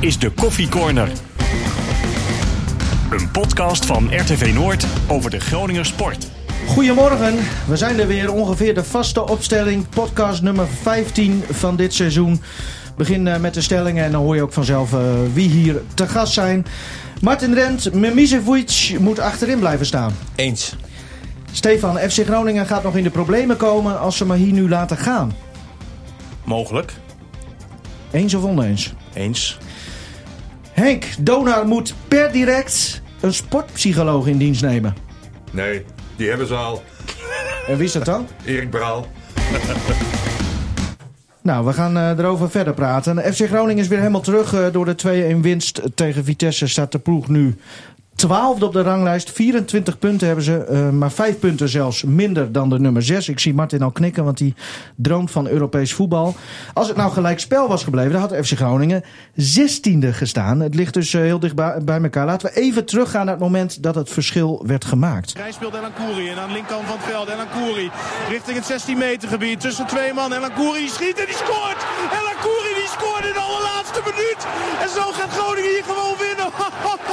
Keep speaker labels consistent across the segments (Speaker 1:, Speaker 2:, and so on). Speaker 1: is de Koffie Corner. Een podcast van RTV Noord over de Groninger sport.
Speaker 2: Goedemorgen, we zijn er weer. Ongeveer de vaste opstelling. Podcast nummer 15 van dit seizoen. Begin eh, met de stellingen en dan hoor je ook vanzelf eh, wie hier te gast zijn. Martin Rent, Memisevic moet achterin blijven staan.
Speaker 3: Eens.
Speaker 2: Stefan, FC Groningen gaat nog in de problemen komen als ze maar hier nu laten gaan.
Speaker 3: Mogelijk.
Speaker 2: Eens of oneens?
Speaker 3: Eens.
Speaker 2: Henk, Donar moet per direct een sportpsycholoog in dienst nemen.
Speaker 4: Nee, die hebben ze al.
Speaker 2: En wie is dat dan?
Speaker 4: Erik Braal.
Speaker 2: Nou, we gaan eh, erover verder praten. FC Groningen is weer helemaal terug eh, door de 2-1 winst tegen Vitesse. Staat de ploeg nu 12 op de ranglijst. 24 punten hebben ze, eh, maar 5 punten zelfs minder dan de nummer 6. Ik zie Martin al knikken, want die droomt van Europees voetbal. Als het nou gelijk spel was gebleven, dan had FC Groningen 16e gestaan. Het ligt dus eh, heel dicht bij bij elkaar. Laten we even teruggaan naar het moment dat het verschil werd gemaakt.
Speaker 5: Hij speelt Elan Koeri en aan de linkerkant van het veld. Elan Koeri richting het 16 meter gebied tussen twee man. Elan Koeri die schiet en die scoort. Elan Koeri die scoort in de allerlaatste minuut. En zo gaat Groningen hier gewoon winnen.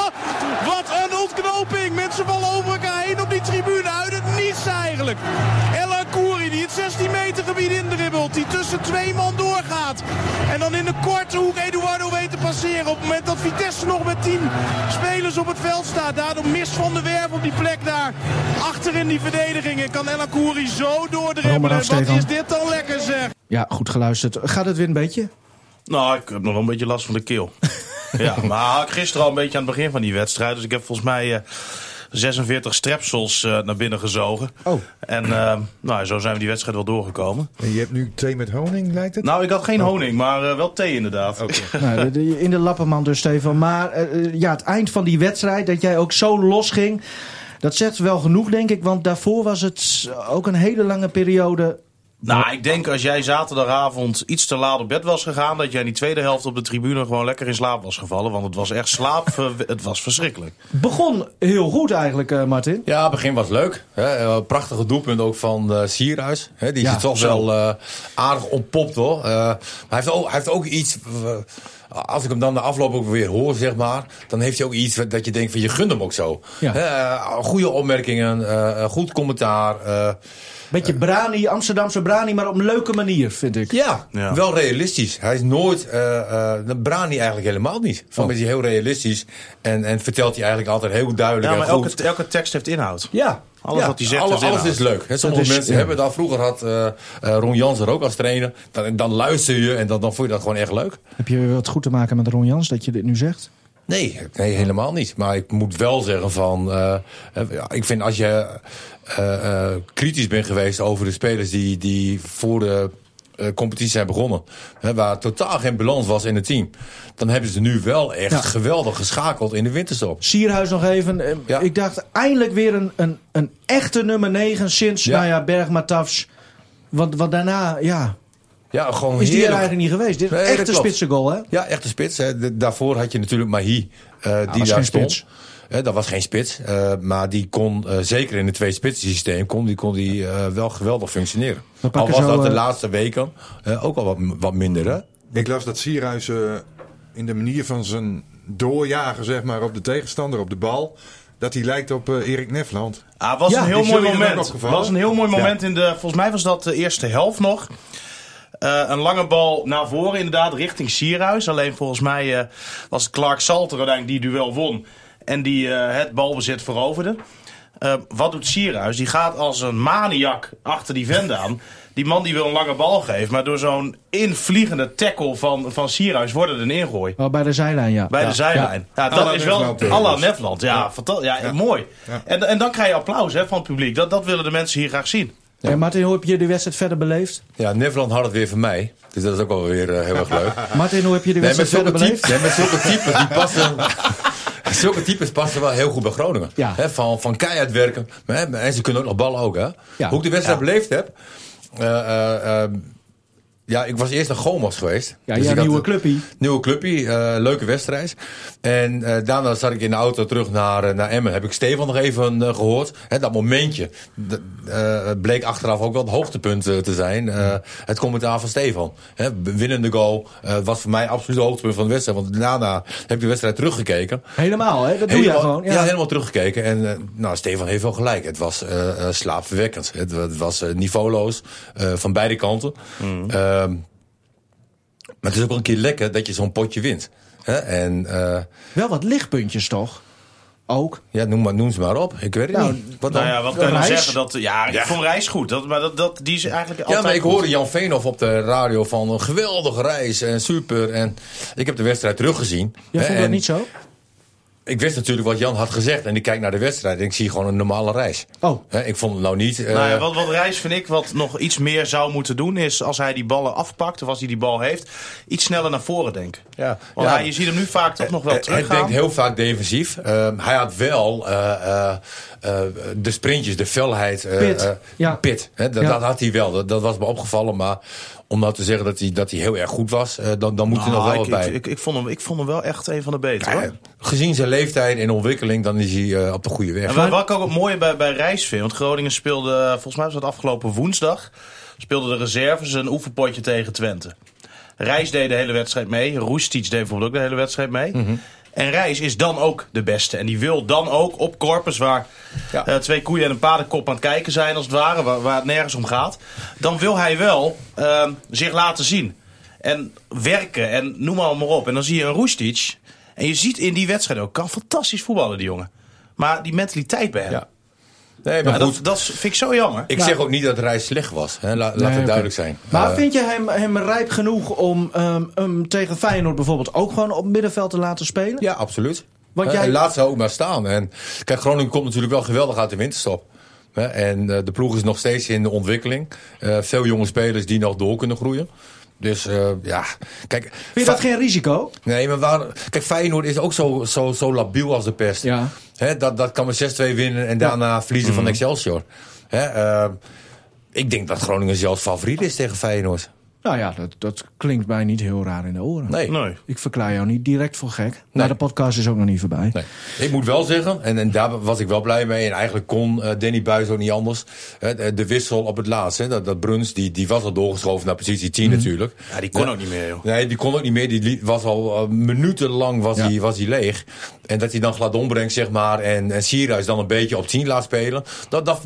Speaker 5: Wat een ontknoping. Mensen vallen over elkaar heen op die tribune. Uit het niets eigenlijk. Elan Koeri die het 16 meter gebied indribbelt. Die tussen twee man doorgaat. En dan in de korte hoek Eduardo weet te passeren. Op het moment dat Vitesse nog met 10 spelers op het veld staat. Daardoor mist Van der Werf op die plek daar. Achter in die verdediging. En kan Elan Koeri zo
Speaker 2: Rommel
Speaker 5: doordribbelen.
Speaker 2: af,
Speaker 5: Wat
Speaker 2: Stefan.
Speaker 5: is dit dan lekker zeg.
Speaker 2: Ja, goed geluisterd. Gaat het weer een beetje?
Speaker 3: Nou, ik heb nog wel een beetje last van de keel. ja, maar ik gisteren al een beetje aan het begin van die wedstrijd. Dus ik heb volgens mij eh, 46 strepsels eh, naar binnen gezogen.
Speaker 2: Oh.
Speaker 3: En eh, nou, zo zijn we die wedstrijd wel doorgekomen.
Speaker 4: En je hebt nu thee met honing, lijkt het?
Speaker 3: Nou, ik had geen honing, maar eh, wel thee inderdaad.
Speaker 2: Nou, de- de- in de lappenman dus, Stefan. Maar eh, eh, ja, het eind van die wedstrijd, dat jij ook zo los ging. Dat zegt wel genoeg, denk ik. Want daarvoor was het ook een hele lange periode.
Speaker 3: Nou, ik denk als jij zaterdagavond iets te laat op bed was gegaan... dat jij in die tweede helft op de tribune gewoon lekker in slaap was gevallen. Want het was echt slaap... het was verschrikkelijk.
Speaker 2: Begon heel goed eigenlijk, eh, Martin.
Speaker 6: Ja, het begin was leuk. Hè. Eh, Prachtige doelpunt ook van eh, Sierhuis. Hè, die
Speaker 2: Ja,
Speaker 6: is toch
Speaker 2: zo.
Speaker 6: wel eh, aardig ontpopt hoor. Eh, maar hij heeft, ook, hij heeft ook iets. eh, als ik hem dan de afloop ook weer hoor, zeg maar. Dan heeft hij ook iets wat- dat je denkt van je gunt hem ook zo.
Speaker 2: Ja.
Speaker 6: Hè, eh, goede opmerkingen, eh, een goed commentaar. eh,
Speaker 2: Beetje brani, Amsterdamse brani, maar op een leuke manier, vind ik.
Speaker 6: ja,
Speaker 3: Ja.
Speaker 6: wel realistisch. Hij is nooit. eh eh dat Brani eigenlijk helemaal niet. Van
Speaker 3: Oh.
Speaker 6: is hij heel realistisch. En, en vertelt hij eigenlijk altijd heel duidelijk.
Speaker 3: Ja,
Speaker 6: en
Speaker 3: maar
Speaker 6: goed.
Speaker 3: elke, elke tekst heeft inhoud.
Speaker 6: Ja.
Speaker 3: Alles
Speaker 6: Ja,
Speaker 3: wat hij zegt,
Speaker 6: alle-
Speaker 3: heeft
Speaker 6: alles
Speaker 3: inhoud.
Speaker 6: is leuk. Hè, sommige
Speaker 2: is-
Speaker 6: mensen
Speaker 2: ja.
Speaker 6: hebben dat. Vroeger had eh, eh, Ron Jans er ook als trainer. Dan, dan luister je en dan, dan vond je dat gewoon echt leuk.
Speaker 2: Heb je wat goed te maken met Ron Jans dat je dit nu zegt?
Speaker 6: Nee, nee, helemaal niet. Maar ik moet wel zeggen van... eh, eh, ja, ik vind als je eh, eh, kritisch bent geweest over de spelers die, die voor de eh, competitie zijn begonnen... Hè, waar totaal geen balans was in het team... dan hebben ze nu wel echt
Speaker 2: Ja.
Speaker 6: geweldig geschakeld in de winterstop.
Speaker 2: Sierhuis nog even. Eh,
Speaker 6: Ja.
Speaker 2: Ik dacht eindelijk weer een, een, een echte nummer 9 sinds
Speaker 6: Ja.
Speaker 2: nou ja, Bergma Tafs. Want, want daarna ja,
Speaker 6: Ja, gewoon
Speaker 2: is die er
Speaker 6: heerlijk.
Speaker 2: eigenlijk niet geweest. Dit is
Speaker 6: Nee, dat
Speaker 2: echt een
Speaker 6: klopt.
Speaker 2: spitse goal, hè?
Speaker 6: Ja, echte spits. Hè. De- daarvoor had je natuurlijk Mahi, eh, die
Speaker 2: Ah, was
Speaker 6: daar
Speaker 2: geen
Speaker 6: stond.
Speaker 2: spits.
Speaker 6: Hè, dat was geen spits. eh, maar die kon, eh, zeker in het twee-spitsen-systeem, kon die, kon die eh, wel geweldig functioneren.
Speaker 2: We
Speaker 6: Al
Speaker 2: pakken
Speaker 6: was
Speaker 2: zo,
Speaker 6: dat de
Speaker 2: eh,
Speaker 6: laatste weken eh, ook al wat, wat minder, hè?
Speaker 4: Ik las dat Sierhuis eh, in de manier van zijn doorjagen zeg maar, op de tegenstander, op de bal... dat hij lijkt op eh, Erik Nefland.
Speaker 3: Ah, was,
Speaker 2: Ja,
Speaker 3: een heel
Speaker 4: is
Speaker 3: mooi
Speaker 4: jullie dan ook
Speaker 3: moment.
Speaker 4: opgevallen?
Speaker 3: was een heel mooi moment in de. Volgens mij was dat de eerste helft nog. Eh, een lange bal naar voren, inderdaad, richting Sierhuis. Alleen volgens mij eh, was het Clark Salter uiteindelijk die duel won. En die eh, het balbezit veroverde. Eh, wat doet Sierhuis? Die gaat als een maniak achter die vent aan. Die man die wil een lange bal geven. Maar door zo'n invliegende tackle van, van Sierhuis wordt het een ingooi.
Speaker 2: Oh, bij de zijlijn, ja.
Speaker 3: Bij de zijlijn. Ja,
Speaker 4: Alla
Speaker 3: dat is wel
Speaker 4: Nefland, eh,
Speaker 3: Alla
Speaker 4: dus.
Speaker 3: Nefland. Ja, fanta- ja, mooi.
Speaker 4: Ja.
Speaker 3: En, en dan krijg je applaus hè, van het publiek. Dat, dat willen de mensen hier graag zien.
Speaker 2: Hey, Martin, hoe heb je de wedstrijd verder beleefd?
Speaker 6: Ja, Neverland had het weer van mij. Dus dat is ook wel weer eh, heel erg leuk.
Speaker 2: Martin, hoe heb je de
Speaker 6: Nee, met
Speaker 2: wedstrijd
Speaker 6: zulke,
Speaker 2: verder beleefd?
Speaker 6: type, nee, met zulke types die passen. Zulke types passen wel heel goed bij Groningen.
Speaker 2: Ja.
Speaker 6: Hè, van, van keihard werken. Maar, hè, en ze kunnen ook nog ballen ook. Hè.
Speaker 2: Ja.
Speaker 6: Hoe ik de wedstrijd beleefd heb. eh, eh, eh, Ja, ik was eerst naar Gomas geweest.
Speaker 2: Ja,
Speaker 6: Dus
Speaker 2: jouw
Speaker 6: ik had
Speaker 2: nieuwe
Speaker 6: een-
Speaker 2: clubpie.
Speaker 6: Nieuwe clubpie, eh, leuke wedstrijd. En eh, daarna zat ik in de auto terug naar, eh, naar Emmen. Heb ik Stefan nog even eh, gehoord. Hè, dat momentje d- eh, bleek achteraf ook wel het hoogtepunt eh, te zijn. Eh, het commentaar van Stefan. Hè, winnende goal eh, was voor mij absoluut het hoogtepunt van de wedstrijd. Want daarna heb ik de wedstrijd teruggekeken.
Speaker 2: Helemaal, hè? Dat doe je
Speaker 6: Helemaal-
Speaker 2: gewoon.
Speaker 6: Ja. helemaal teruggekeken. En eh, nou, Stefan heeft wel gelijk. Het was eh, eh, slaapverwekkend. Het, wa- het was eh, niveauloos eh, van beide kanten.
Speaker 3: Mm.
Speaker 6: Ehm, maar het is ook wel een keer lekker dat je zo'n potje wint. Hè? En eh,
Speaker 2: Wel wat lichtpuntjes toch? Ook.
Speaker 6: ja, noem, maar, noem ze maar op. Ik weet het
Speaker 2: Nou,
Speaker 6: niet. Wat dan?
Speaker 3: Nou ja, wat kan je nou
Speaker 2: Reis?
Speaker 3: zeggen? Dat, ja, ik vond Reis goed. Dat, maar dat, dat, die is eigenlijk
Speaker 6: Ja,
Speaker 3: altijd
Speaker 6: maar ik
Speaker 3: goed.
Speaker 6: hoorde Jan Veenhoff op de radio van een geweldige reis en super. En ik heb de wedstrijd teruggezien.
Speaker 2: Jij
Speaker 6: Hè,
Speaker 2: vond dat
Speaker 6: en
Speaker 2: niet zo?
Speaker 6: Ik wist natuurlijk wat Jan had gezegd. En ik kijk naar de wedstrijd en ik zie gewoon een normale reis.
Speaker 2: Oh.
Speaker 6: Hè, ik vond het nou niet... eh,
Speaker 3: Nou ja, wat, wat Reis vind ik wat nog iets meer zou moeten doen is als hij die ballen afpakt of als hij die bal heeft, iets sneller naar voren denken.
Speaker 6: Ja.
Speaker 3: Want
Speaker 6: Ja.
Speaker 3: hij- je ziet hem nu vaak toch nog wel
Speaker 6: Eh, Hij- Hij
Speaker 3: teruggaan.
Speaker 6: denkt heel vaak defensief. Ehm, hij had wel eh, eh, eh, de sprintjes, de felheid. eh,
Speaker 2: Pit.
Speaker 6: eh,
Speaker 2: Ja.
Speaker 6: pit. Hè, dat,
Speaker 2: Ja.
Speaker 6: dat had hij wel. Dat, dat was me opgevallen. Maar om nou te zeggen dat hij, dat hij heel erg goed was, eh, dan, dan moet hij nog
Speaker 3: Ah,
Speaker 6: wel
Speaker 3: ik,
Speaker 6: wat bij.
Speaker 3: ik, ik, ik vond hem, ik vond hem wel echt een van de betere.
Speaker 6: Ja,
Speaker 3: hoor.
Speaker 6: gezien zijn leeftijd en ontwikkeling, dan is hij eh, op de goede weg.
Speaker 3: En wat, wat ik ook het mooie bij, bij Reis vind, want Groningen speelde, volgens mij was dat afgelopen woensdag, speelden de reserves een oefenpotje tegen Twente. Reis deed de hele wedstrijd mee, Roestic deed bijvoorbeeld ook de hele wedstrijd mee.
Speaker 6: Mhm.
Speaker 3: En Reis is dan ook de beste. En die wil dan ook op Corpus, waar
Speaker 6: Ja.
Speaker 3: eh, twee koeien en een paardenkop aan het kijken zijn als het ware, waar, waar het nergens om gaat. Dan wil hij wel ehm, zich laten zien. En werken en noem maar, maar op. En dan zie je een Roestic. En je ziet in die wedstrijd ook, kan fantastisch voetballen die jongen. Maar die mentaliteit bij hem.
Speaker 6: Ja. Nee, maar
Speaker 3: Ja,
Speaker 6: goed.
Speaker 3: dat, dat vind ik zo jammer.
Speaker 6: ik
Speaker 2: Nou.
Speaker 6: zeg ook niet dat Reis slecht was. Hè. La- laat
Speaker 2: Nee, oké.
Speaker 6: het duidelijk zijn.
Speaker 2: Maar
Speaker 6: Eh,
Speaker 2: vind je hem, hem rijp genoeg om ehm, hem tegen Feyenoord bijvoorbeeld ook gewoon op middenveld te laten spelen?
Speaker 6: Ja, absoluut.
Speaker 2: Want
Speaker 6: Want
Speaker 2: jij-
Speaker 6: Laat ze ook maar staan. En kijk, Groningen komt natuurlijk wel geweldig uit de winterstop. Hè, En eh, de ploeg is nog steeds in de ontwikkeling. Eh, veel jonge spelers die nog door kunnen groeien. Dus eh, ja, kijk.
Speaker 2: Vind je dat geen risico?
Speaker 6: Nee, maar waar... Kijk, Feyenoord is ook zo, zo, zo labiel als de pest.
Speaker 2: Ja. Mhm.
Speaker 6: Hè, dat, dat kan met 6-2 winnen en daarna verliezen van Excelsior. Hè, eh, ik denk dat Groningen zelfs favoriet is tegen Feyenoord.
Speaker 2: Nou ja, dat, dat klinkt mij niet heel raar in de oren.
Speaker 6: Nee.
Speaker 3: Nee.
Speaker 2: Ik verklaar jou niet direct voor gek. Maar de podcast is ook nog niet voorbij.
Speaker 6: Nee. Ik moet wel zeggen, en, en daar was ik wel blij mee. En eigenlijk kon eh, Danny Buis ook niet anders. Hè, de- de wissel op het laatst. Hè, dat, dat Bruns, die, die was al doorgeschoven naar positie 10 natuurlijk.
Speaker 3: Ja, die kon ook niet meer, joh.
Speaker 6: Nee, die kon ook niet meer. Die li- was al eh, minutenlang was
Speaker 2: Ja.
Speaker 6: die, was die leeg. En dat hij dan Gladon brengt, zeg maar. En, en Sierhuis dan een beetje op 10 laat spelen. Dat, dat,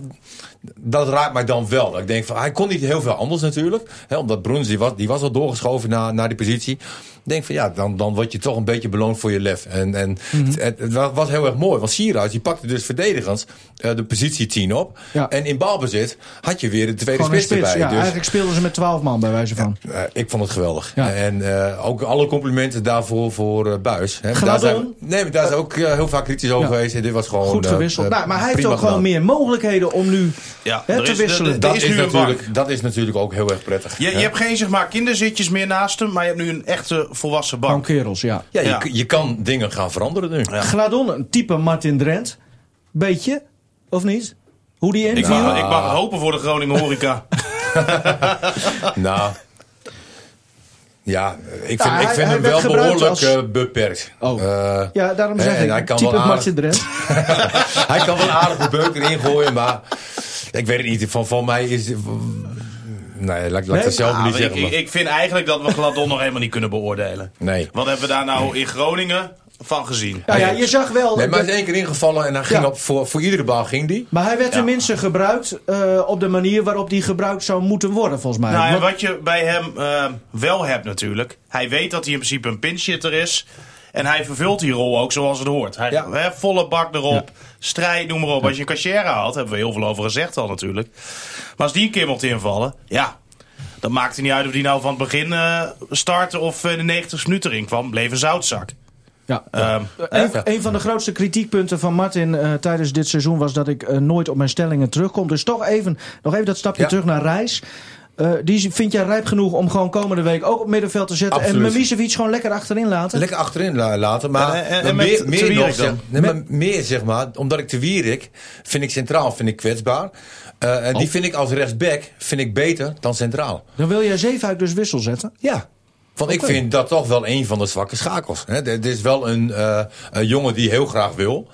Speaker 6: dat raakt mij dan wel. Dat Ik denk van, hij kon niet heel veel anders natuurlijk. Hè, omdat Bruns, die was, die was al doorgeschoven naar, naar die positie. Ik denk van, ja, dan, dan word je toch een beetje beloond voor je lef. En, en
Speaker 2: Mhm.
Speaker 6: het, het- het wa- was heel erg mooi. Want Sierhuis, die pakte dus verdedigend eh, de positie 10 op.
Speaker 2: Ja.
Speaker 6: En in balbezit had je weer de tweede
Speaker 2: Gewoon een
Speaker 6: spits,
Speaker 2: spits.
Speaker 6: erbij.
Speaker 2: Ja,
Speaker 6: dus,
Speaker 2: Eigenlijk speelden ze met 12 man bij wijze van.
Speaker 6: eh, ik vond het geweldig.
Speaker 2: Ja.
Speaker 6: En eh, ook alle complimenten daarvoor voor eh, Buis. Hè.
Speaker 2: Gladon.
Speaker 6: Daar zijn, we- nee, maar daar zijn we ook eh, heel vaak kritisch over
Speaker 2: Ja.
Speaker 6: geweest. En dit was gewoon.
Speaker 2: Goed
Speaker 6: eh,
Speaker 2: gewisseld.
Speaker 6: eh,
Speaker 2: nou, maar hij heeft
Speaker 6: prima
Speaker 2: ook gewoon
Speaker 6: gedaan.
Speaker 2: meer mogelijkheden om nu
Speaker 3: Ja,
Speaker 2: hè,
Speaker 3: er
Speaker 2: te
Speaker 3: is- er-
Speaker 2: wisselen.
Speaker 3: er-
Speaker 6: Dat
Speaker 3: is
Speaker 6: is,
Speaker 3: nu een
Speaker 6: natuurlijk, dat is natuurlijk ook heel erg prettig.
Speaker 3: Je, je
Speaker 6: hè.
Speaker 3: hebt geen zeg maar kinderzitjes meer naast hem, maar je hebt nu een echte volwassen
Speaker 2: Gewoon
Speaker 3: bank.
Speaker 2: kerels, ja.
Speaker 6: ja, je,
Speaker 3: ja.
Speaker 6: je kan dingen gaan veranderen nu.
Speaker 2: Gladon, een type Martin Drent. Beetje, of niet? Hoe die
Speaker 3: Ik
Speaker 2: inviel.
Speaker 3: mag, ik mag hopen voor de Groningen horeca.
Speaker 6: Nou. Ja, ik vind,
Speaker 2: hij-
Speaker 6: ik
Speaker 2: hij
Speaker 6: vind hem
Speaker 2: werd
Speaker 6: wel
Speaker 2: gebruikt
Speaker 6: behoorlijk
Speaker 2: als-
Speaker 6: eh, beperkt.
Speaker 2: Oh.
Speaker 6: Eh,
Speaker 2: ja, daarom
Speaker 6: hè,
Speaker 2: zeg
Speaker 6: en
Speaker 2: ik,
Speaker 6: hij kan
Speaker 2: type
Speaker 6: wel aardig-
Speaker 2: Martin Drent.
Speaker 6: hij kan wel aardig de beuk erin gooien, maar ik weet het niet. Van, van mij is. Nee, laat, laat
Speaker 2: Nee?
Speaker 6: ik dat zelf
Speaker 3: Ah,
Speaker 6: niet
Speaker 3: ik,
Speaker 6: zeggen.
Speaker 3: ik,
Speaker 6: maar-
Speaker 3: ik vind eigenlijk dat we Gladon nog helemaal niet kunnen beoordelen.
Speaker 6: Nee.
Speaker 3: Wat hebben we daar nou in Groningen van gezien?
Speaker 2: Nou ja, je zag wel...
Speaker 6: Nee, maar hij
Speaker 2: dat-
Speaker 6: is één keer ingevallen en hij ging
Speaker 2: Ja.
Speaker 6: op, voor, voor iedere bal ging die.
Speaker 2: maar hij werd tenminste gebruikt eh, op de manier waarop die gebruikt zou moeten worden, volgens mij.
Speaker 3: Nou, en
Speaker 2: Want-
Speaker 3: wat je bij hem eh, wel hebt natuurlijk. Hij weet dat hij in principe een pinchitter is. En hij vervult die rol ook zoals het hoort. Hij,
Speaker 6: Ja.
Speaker 3: hè, volle bak erop, strijd, noem maar op. Als je een cashier haalt, hebben we heel veel over gezegd al natuurlijk. Maar als die een keer mocht invallen, ja. Dan maakt het niet uit of die nou van het begin eh startte of eh, de 90 minuten erin kwam. Bleef een zoutzak.
Speaker 2: ja.
Speaker 3: Ehm,
Speaker 2: Een,
Speaker 6: Ja.
Speaker 2: een van de grootste kritiekpunten van Martin eh, tijdens dit seizoen was dat ik eh, nooit op mijn stellingen terugkom. Dus toch even, nog even dat stapje
Speaker 6: Ja.
Speaker 2: terug naar Reis. eh, die vind jij rijp genoeg om gewoon komende week ook op middenveld te zetten. En
Speaker 6: Absoluut.
Speaker 2: Milicevic gewoon lekker achterin laten.
Speaker 6: Lekker achterin la- laten, maar
Speaker 3: En- en- en
Speaker 6: maar
Speaker 3: met
Speaker 6: meer,
Speaker 3: Te
Speaker 6: meer,
Speaker 3: Wierik
Speaker 6: nog, zeg,
Speaker 3: dan?
Speaker 6: nee, maar meer zeg maar, omdat ik te Wierik vind ik centraal, vind ik kwetsbaar. Eh, en
Speaker 3: Oh.
Speaker 6: die vind ik als rechtsback vind ik beter dan centraal.
Speaker 2: Dan wil jij Zeefuik dus wissel zetten.
Speaker 6: Ja. Want ik vind dat toch wel een van de zwakke schakels. hè. Dit dit is wel een, eh, een jongen die heel graag wil,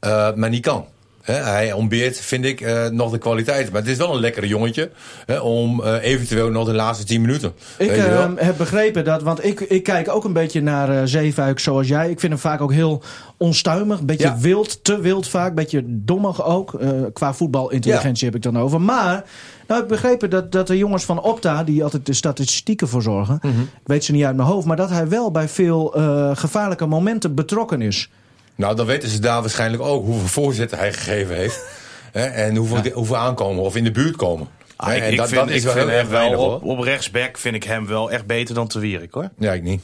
Speaker 6: eh, maar niet kan. Hè, hij ontbeert, vind ik, eh, nog de kwaliteit. Maar het is wel een lekkere jongetje hè, om eh, eventueel nog de laatste 10 minuten.
Speaker 2: Ik
Speaker 6: weet je wel.
Speaker 2: ehm, heb begrepen dat, want ik, ik kijk ook een beetje naar eh, Zeefuik zoals jij. Ik vind hem vaak ook heel onstuimig, een beetje
Speaker 6: Ja.
Speaker 2: wild, te wild vaak, een beetje dommig ook. Eh, qua voetbalintelligentie heb ik dan over. Maar, nou, ik begrepen dat, dat de jongens van Opta, die altijd de statistieken voor zorgen,
Speaker 6: Mhm.
Speaker 2: ik weet ze niet uit mijn hoofd, maar dat hij wel bij veel eh, gevaarlijke momenten betrokken is.
Speaker 6: Nou, dan weten ze daar waarschijnlijk ook hoeveel voorzetten hij gegeven heeft. Hè, en hoeveel, hoeveel aankomen of in de buurt komen.
Speaker 4: Ah,
Speaker 6: Hè,
Speaker 3: ik,
Speaker 6: en
Speaker 3: ik
Speaker 6: dat,
Speaker 3: vind,
Speaker 6: dat is
Speaker 3: ik
Speaker 6: wel
Speaker 3: vind
Speaker 6: heel erg
Speaker 3: hem wel
Speaker 6: weinig
Speaker 3: op,
Speaker 6: hoor.
Speaker 3: op rechtsback vind ik hem wel echt beter dan Te Wierik hoor.
Speaker 6: Ja, ik niet.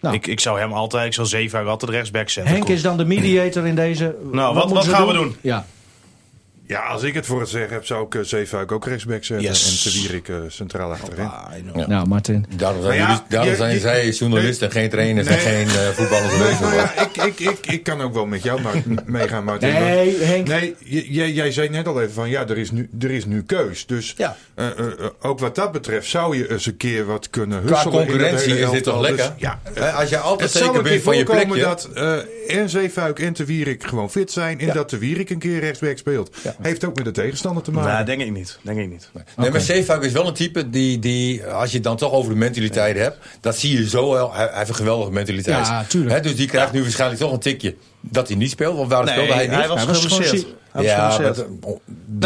Speaker 2: Nou.
Speaker 3: Ik, ik zou hem altijd, ik zou Zeefuik altijd rechtsback zetten.
Speaker 2: Henk is dan de mediator in deze.
Speaker 3: wat- Nou, wat
Speaker 2: moeten
Speaker 3: gaan we doen?
Speaker 2: Ja.
Speaker 4: Ja, als ik het voor het zeggen heb, zou ik eh, Zeefuik ook rechtsback zetten.
Speaker 3: Yes.
Speaker 4: En Tewierik eh centraal achterin.
Speaker 3: Ah,
Speaker 2: Nou, Martin.
Speaker 6: Daarom zijn,
Speaker 4: Maar ja,
Speaker 6: jullie- daarom
Speaker 4: je-
Speaker 6: zijn
Speaker 4: je-
Speaker 6: zij journalisten, en geen trainers en
Speaker 4: Nee.
Speaker 6: geen eh, voetballers.
Speaker 4: Nee,
Speaker 6: geweest.
Speaker 4: nou ja, ik, ik, ik, ik kan ook wel met jou maar, meegaan, Martin.
Speaker 2: Nee,
Speaker 4: Maar-
Speaker 2: Henk.
Speaker 4: Nee, j- jij, jij zei net al even van ja, er is nu, er is nu keus. Dus
Speaker 6: Ja.
Speaker 4: eh, eh, eh, ook wat dat betreft zou je eens een keer wat kunnen
Speaker 6: Qua
Speaker 4: husselen. in dat
Speaker 6: concurrentie
Speaker 4: hele
Speaker 6: is dit toch
Speaker 4: elftal.
Speaker 6: lekker?
Speaker 4: Dus, ja,
Speaker 6: Hè, Als je altijd
Speaker 4: het zou
Speaker 6: zeker
Speaker 4: een keer
Speaker 6: bent van je
Speaker 4: voorkomen
Speaker 6: plekje.
Speaker 4: dat eh en Zeefuik en Te Wierik gewoon fit zijn. En
Speaker 6: Ja.
Speaker 4: dat Te Wierik een keer rechtsback speelt. Heeft ook met de tegenstander te maken.
Speaker 3: Nou, denk ik niet. Denk ik niet.
Speaker 6: Nee, maar Zeefuik is wel een type die, die, als je het dan toch over de mentaliteit hebt, dat zie je zo wel. Hij, hij heeft een geweldige mentaliteit.
Speaker 2: Ja, tuurlijk.
Speaker 6: Hè, dus die krijgt nu waarschijnlijk toch een tikje dat hij niet speelt. Want waar
Speaker 3: Nee,
Speaker 6: speelde hij
Speaker 3: hij,
Speaker 6: niet?
Speaker 3: was
Speaker 2: Hij was
Speaker 3: geblesseerd.
Speaker 2: gewoon
Speaker 3: Hij was
Speaker 6: ja,
Speaker 3: geblesseerd.
Speaker 6: maar dat-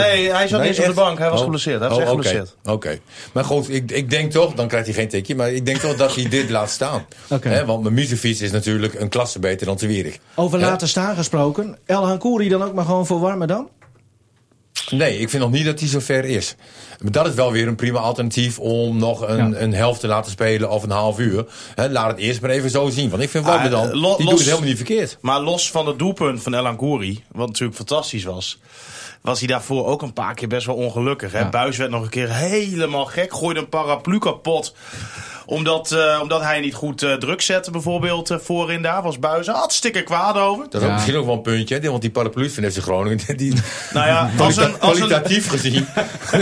Speaker 3: Nee, hij zat
Speaker 6: Nee,
Speaker 3: niet eens op
Speaker 6: echt?
Speaker 3: de bank. Hij was
Speaker 6: Oh.
Speaker 3: geblesseerd. Hij was
Speaker 6: Oh,
Speaker 3: echt
Speaker 6: oké.
Speaker 3: geblesseerd.
Speaker 6: Oké. Maar goed, ik, ik denk toch, dan krijgt hij geen tikje, maar ik denk toch dat hij dit laat staan.
Speaker 2: Oké.
Speaker 6: Hè, want mijn muzefiets is natuurlijk een klasse beter dan te Wierig.
Speaker 2: Over
Speaker 3: Eh.
Speaker 2: laten staan gesproken. El Hankouri dan ook maar gewoon voor Warmerdam?
Speaker 6: Nee, ik vind nog niet dat hij zo ver is. Maar dat is wel weer een prima alternatief om nog een,
Speaker 2: Ja.
Speaker 6: een helft te laten spelen of een half uur. Hè, laat het eerst maar even zo zien. Want ik vind Warme
Speaker 3: Ah,
Speaker 6: dan,
Speaker 3: eh, lo-
Speaker 6: die
Speaker 3: los-
Speaker 6: doet het helemaal niet verkeerd.
Speaker 3: Maar los van het doelpunt van El Angouri, wat natuurlijk fantastisch was, was hij daarvoor ook een paar keer best wel ongelukkig. Hè? Buis werd nog een keer helemaal gek, gooide een paraplu kapot. Omdat, eh, omdat hij niet goed eh, druk zette, bijvoorbeeld eh, voorin daar, was Buis hartstikke kwaad over.
Speaker 6: Dat is ook misschien ook wel een puntje, hè, want die paraplu van FC Groningen, die,
Speaker 3: Nou ja, als een, als een,
Speaker 6: kwalitatief gezien,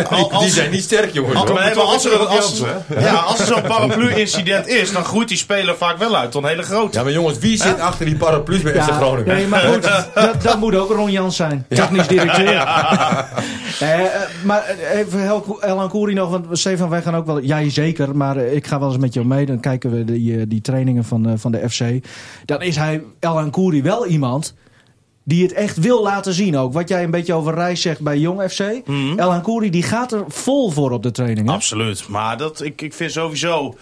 Speaker 3: Al- als-
Speaker 6: die zijn niet sterk jongens.
Speaker 3: Als,
Speaker 6: hoor.
Speaker 3: maar nee,
Speaker 4: toch
Speaker 3: maar als
Speaker 4: is
Speaker 3: er,
Speaker 4: er
Speaker 3: een-
Speaker 4: wel
Speaker 3: als-
Speaker 4: kans,
Speaker 3: ja, als er zo'n paraplu-incident is, dan groeit die speler vaak wel uit tot een hele grote.
Speaker 6: Ja, maar jongens, wie zit achter die paraplu's bij FC Groningen?
Speaker 2: nee, maar goed, dat, dat moet ook Ron Jans zijn. Technisch directeur. Eh, eh, maar even Hel- Elan Koeri nog, want Stefan, wij gaan ook wel... Jij zeker, maar eh, ik ga wel eens met jou mee. Dan kijken we die, eh, die trainingen van, eh, van de FC. Dan is hij, Elan Koeri, wel iemand... Die het echt wil laten zien ook. Wat jij een beetje over Reis zegt bij Jong FC.
Speaker 3: Mhm.
Speaker 2: El Hankouri die gaat er vol voor op de training. hè?
Speaker 3: Absoluut. Maar dat, ik, ik vind sowieso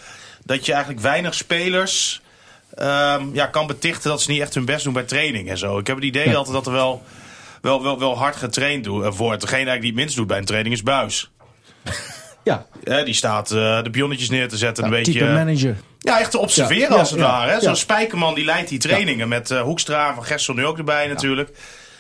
Speaker 3: dat je eigenlijk weinig spelers ehm, ja, kan betichten dat ze niet echt hun best doen bij training en zo. Ik heb het idee
Speaker 2: Ja.
Speaker 3: altijd dat er wel, wel, wel, wel hard getraind doe- eh, wordt. Degene eigenlijk die het minst doet bij een training is Buis.
Speaker 2: Ja, Nou,
Speaker 3: die staat eh, de pionnetjes neer te zetten. een beetje,
Speaker 2: type
Speaker 3: eh,
Speaker 2: manager.
Speaker 3: ja, echt te observeren
Speaker 2: Ja,
Speaker 3: als het
Speaker 2: ja, ja,
Speaker 3: ware. hè.
Speaker 2: ja.
Speaker 3: Zo'n Spijkerman die leidt die trainingen met eh, Hoekstra en Van Gessel nu ook erbij natuurlijk.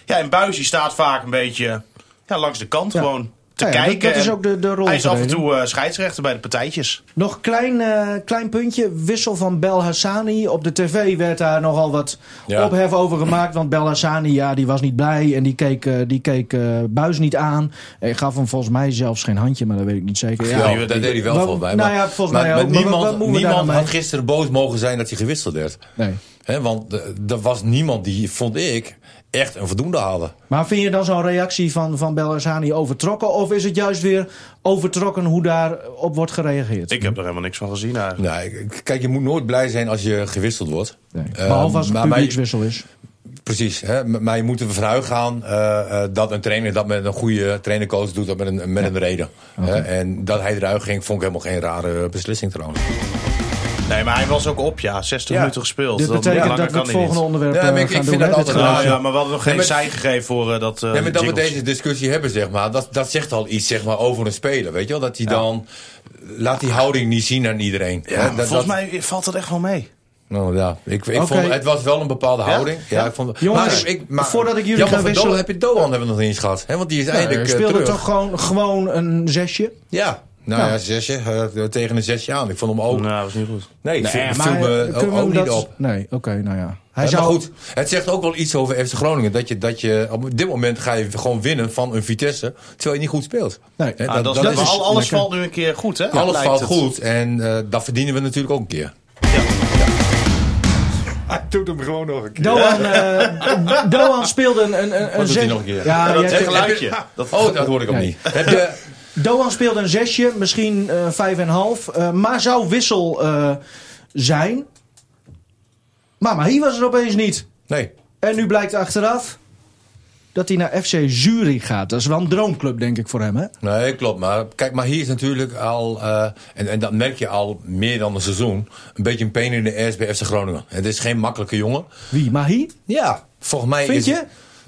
Speaker 3: Ja, en Buis die staat vaak een beetje ja, langs de kant
Speaker 2: Ja.
Speaker 3: gewoon te
Speaker 2: Ja, ja, dat-
Speaker 3: kijken.
Speaker 2: dat is
Speaker 3: En
Speaker 2: ook de- de rol
Speaker 3: Hij is af en
Speaker 2: verdeling.
Speaker 3: toe eh, scheidsrechter bij de partijtjes.
Speaker 2: Nog klein, eh, klein puntje. Wissel van Belhassani. Op de tv werd daar nogal wat
Speaker 6: Ja.
Speaker 2: ophef over gemaakt. Want Belhassani ja, die was niet blij. En die keek, eh, die keek eh, Buis niet aan. En gaf hem volgens mij zelfs geen handje. Maar dat weet ik niet zeker.
Speaker 6: Ja,
Speaker 2: Ja,
Speaker 6: dat deed hij wel
Speaker 2: Wat-
Speaker 6: volgens mij.
Speaker 2: nou
Speaker 6: maar-
Speaker 2: ja, volgens mij ook, maar wat-
Speaker 6: niemand,
Speaker 2: wat moeten we daar
Speaker 6: niemand
Speaker 2: nou
Speaker 6: had
Speaker 2: mee?
Speaker 6: gisteren boos mogen zijn dat hij gewisseld werd.
Speaker 2: Nee.
Speaker 6: Hè, want eh, er was niemand die, vond ik, echt een voldoende haalde.
Speaker 2: Maar vind je dan zo'n reactie van, van Belhassani overtrokken? Of is het juist weer overtrokken hoe daarop wordt gereageerd?
Speaker 3: Ik heb er helemaal niks van gezien eigenlijk.
Speaker 6: Nee, k- Nou, kijk, je moet nooit blij zijn als je gewisseld wordt.
Speaker 2: Nee.
Speaker 6: Eh,
Speaker 2: Behalve als het
Speaker 6: maar- maar je-
Speaker 2: publiekswissel is.
Speaker 6: Precies, hè? M- maar je moet ervan uitgaan eh, eh, dat een trainer dat met een goede trainercoach doet, dat met een, met een reden. Hè, en dat hij eruit ging, vond ik helemaal geen rare beslissing trouwens.
Speaker 3: Nee, maar hij was ook op, ja. 60
Speaker 6: Ja.
Speaker 3: minuten gespeeld.
Speaker 2: Dit
Speaker 3: Dat-
Speaker 2: betekent
Speaker 3: langer
Speaker 2: dat we
Speaker 3: kan
Speaker 2: het
Speaker 3: hij niet.
Speaker 2: volgende onderwerp
Speaker 6: Ja,
Speaker 2: eh,
Speaker 6: maar ik- ik
Speaker 2: gaan
Speaker 6: vind
Speaker 2: doen.
Speaker 6: dat
Speaker 2: hè, dit
Speaker 6: altijd
Speaker 2: geluidje.
Speaker 3: Nou ja, maar we hadden nog
Speaker 6: Nee,
Speaker 3: geen
Speaker 6: maar-
Speaker 3: zij gegeven voor eh, dat eh
Speaker 6: Nee, maar dat we
Speaker 3: jingletje.
Speaker 6: deze discussie hebben, zeg maar, dat, dat zegt al iets zeg maar, over een speler. Weet je wel? Dat hij dan. Laat die houding niet zien aan iedereen.
Speaker 3: Ja,
Speaker 6: Hè,
Speaker 3: maar
Speaker 6: dat-
Speaker 3: volgens
Speaker 6: dat-
Speaker 3: mij valt dat echt wel mee.
Speaker 6: Nou ja, ik, ik
Speaker 2: Oké.
Speaker 6: vond, het was wel een bepaalde houding. Ja? ik vond,
Speaker 2: Jongens,
Speaker 6: maar ik, maar,
Speaker 2: voordat ik jullie
Speaker 6: Jan
Speaker 2: ga
Speaker 6: van
Speaker 2: wisselen-
Speaker 6: Doan heb je Doan hebben we nog niet eens gehad. Hè? Want die is
Speaker 2: Ja,
Speaker 6: eindelijk
Speaker 2: hij
Speaker 6: eh,
Speaker 2: speelde
Speaker 6: terug.
Speaker 2: toch gewoon, gewoon een zesje?
Speaker 6: Ja. Nou
Speaker 2: Nou.
Speaker 6: ja, zesje. eh, tegen een zesje aan. Ik vond hem ook.
Speaker 3: Nou, dat was niet goed.
Speaker 6: Nee, ik viel,
Speaker 2: Eh,
Speaker 6: viel me
Speaker 2: eh,
Speaker 6: ook,
Speaker 2: kunnen we
Speaker 6: ook
Speaker 2: dat-
Speaker 6: niet op.
Speaker 2: Nee, oké, nou ja. Hij
Speaker 6: Hij
Speaker 2: zou
Speaker 6: Eh, goed, het zegt ook wel iets over FC Groningen. Dat je, dat je op dit moment ga je gewoon winnen van een Vitesse. Terwijl je niet goed speelt.
Speaker 2: Nee.
Speaker 6: Hè,
Speaker 2: Ja,
Speaker 3: Ah, dat is, maar al- alles
Speaker 2: lekker.
Speaker 3: valt nu een keer goed, hè?
Speaker 6: alles
Speaker 3: Lijkt
Speaker 6: valt
Speaker 3: het.
Speaker 6: goed. En eh, dat verdienen we natuurlijk ook een keer.
Speaker 4: Hij doet hem gewoon nog een keer.
Speaker 2: Doan, eh, Doan speelde een, een, een, een
Speaker 6: doet hij
Speaker 2: zes-
Speaker 6: nog een keer?
Speaker 2: Ja,
Speaker 3: Ja,
Speaker 2: jij
Speaker 3: dat
Speaker 2: hebt-
Speaker 3: geluidje. Dat,
Speaker 6: Oh, dat hoor ik ook
Speaker 2: Nee.
Speaker 6: niet. Heb je,
Speaker 2: Doan speelde een zesje, misschien eh, vijf en een half. eh, maar zou wissel eh, zijn. Maar Mahi was er opeens niet.
Speaker 6: nee.
Speaker 2: En nu blijkt achteraf dat hij naar FC Zurich gaat. Dat is wel een droomclub, denk ik, voor hem, hè?
Speaker 6: Nee, klopt. Maar kijk, maar hier is natuurlijk al, eh, en, en dat merk je al meer dan een seizoen, een beetje een pain in de ass bij FC Groningen. Het is geen makkelijke jongen.
Speaker 2: Wie, Mahi?
Speaker 6: Ja, volgens mij
Speaker 2: Vind
Speaker 6: is
Speaker 2: je?
Speaker 6: het-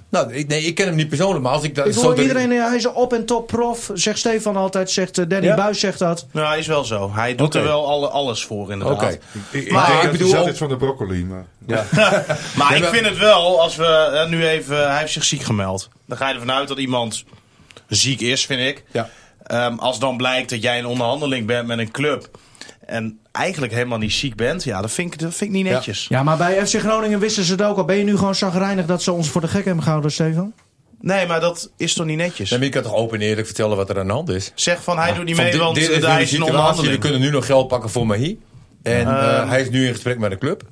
Speaker 6: nou, ik, nee, ik ken hem niet persoonlijk, maar als ik dat
Speaker 2: Ik
Speaker 6: zo
Speaker 2: hoor
Speaker 6: te-
Speaker 2: iedereen, eh, hij is een op- en top prof. Zegt Stefan altijd, zegt eh, Danny
Speaker 6: Ja.
Speaker 2: Buis zegt dat.
Speaker 3: nou, hij is wel zo. Hij doet
Speaker 6: Oké.
Speaker 3: er wel alle, alles voor, inderdaad.
Speaker 6: Oké.
Speaker 4: Ik,
Speaker 6: Maar ik
Speaker 4: ik
Speaker 6: bedoel
Speaker 4: bedoel
Speaker 6: ook-
Speaker 4: altijd van de broccoli, maar...
Speaker 6: Ja.
Speaker 3: Maar
Speaker 6: Nee,
Speaker 3: ik
Speaker 6: maar-
Speaker 3: vind het wel, als we eh, nu even... hij heeft zich ziek gemeld. Dan ga je ervan uit dat iemand ziek is, vind ik.
Speaker 6: Ja.
Speaker 3: Ehm, als dan blijkt dat jij in onderhandeling bent met een club... en eigenlijk helemaal niet ziek bent... ja, dat vind ik, dat vind ik niet
Speaker 6: Ja.
Speaker 3: netjes.
Speaker 2: Ja, maar bij FC Groningen wisten ze het ook al. Ben je nu gewoon chagrijnig dat ze ons voor de gek hebben gehouden, Stefan?
Speaker 3: Nee, maar dat is toch niet netjes?
Speaker 6: Nee, maar je kan toch open en eerlijk vertellen wat er aan de hand is?
Speaker 3: Zeg van, hij doet niet
Speaker 6: Van
Speaker 3: mee,
Speaker 6: dit-
Speaker 3: want
Speaker 6: dit
Speaker 3: eh,
Speaker 6: is nu
Speaker 3: hij
Speaker 6: de
Speaker 3: is in
Speaker 6: situatie. We
Speaker 3: onderhandeling.
Speaker 6: kunnen nu nog geld pakken voor Mahi. En eh, hij is nu in gesprek met de club.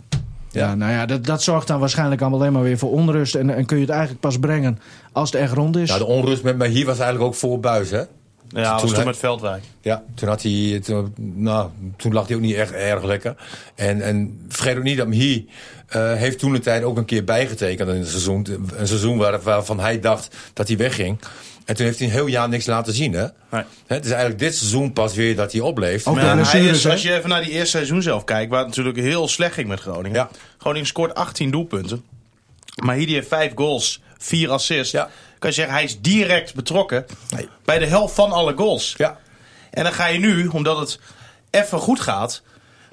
Speaker 2: Ja, nou ja, dat, dat zorgt dan waarschijnlijk allemaal alleen maar weer voor onrust. En, en kun je het eigenlijk pas brengen als het echt rond is.
Speaker 6: Ja, Nou, de onrust met Mahi was eigenlijk ook voor Buis, hè?
Speaker 3: Ja, dat was
Speaker 6: Toen hij-
Speaker 3: toen met Veldwijk.
Speaker 6: Ja, toen, had hij, toen, nou, toen lag hij ook niet echt erg lekker. En, en vergeet ook niet dat Mhi eh, heeft toen de tijd ook een keer bijgetekend in het seizoen. Een seizoen waar, waarvan hij dacht dat hij wegging. En toen heeft hij een heel jaar niks laten zien. Hè?
Speaker 3: Nee.
Speaker 6: Hè, het is eigenlijk dit seizoen pas weer dat hij opleeft.
Speaker 2: Ook
Speaker 3: Maar ja,
Speaker 2: door
Speaker 3: hij
Speaker 2: blessures,
Speaker 3: is,
Speaker 2: hè?
Speaker 3: als je even naar die eerste seizoen zelf kijkt, waar het natuurlijk heel slecht ging met Groningen.
Speaker 6: Ja.
Speaker 3: Groningen scoort 18 doelpunten. Maar hier heeft 5 goals, 4 assists.
Speaker 6: Ja.
Speaker 3: Kan je zeggen, hij is direct betrokken
Speaker 6: Nee.
Speaker 3: bij de helft van alle goals.
Speaker 6: Ja.
Speaker 3: En dan ga je nu, omdat het even goed gaat,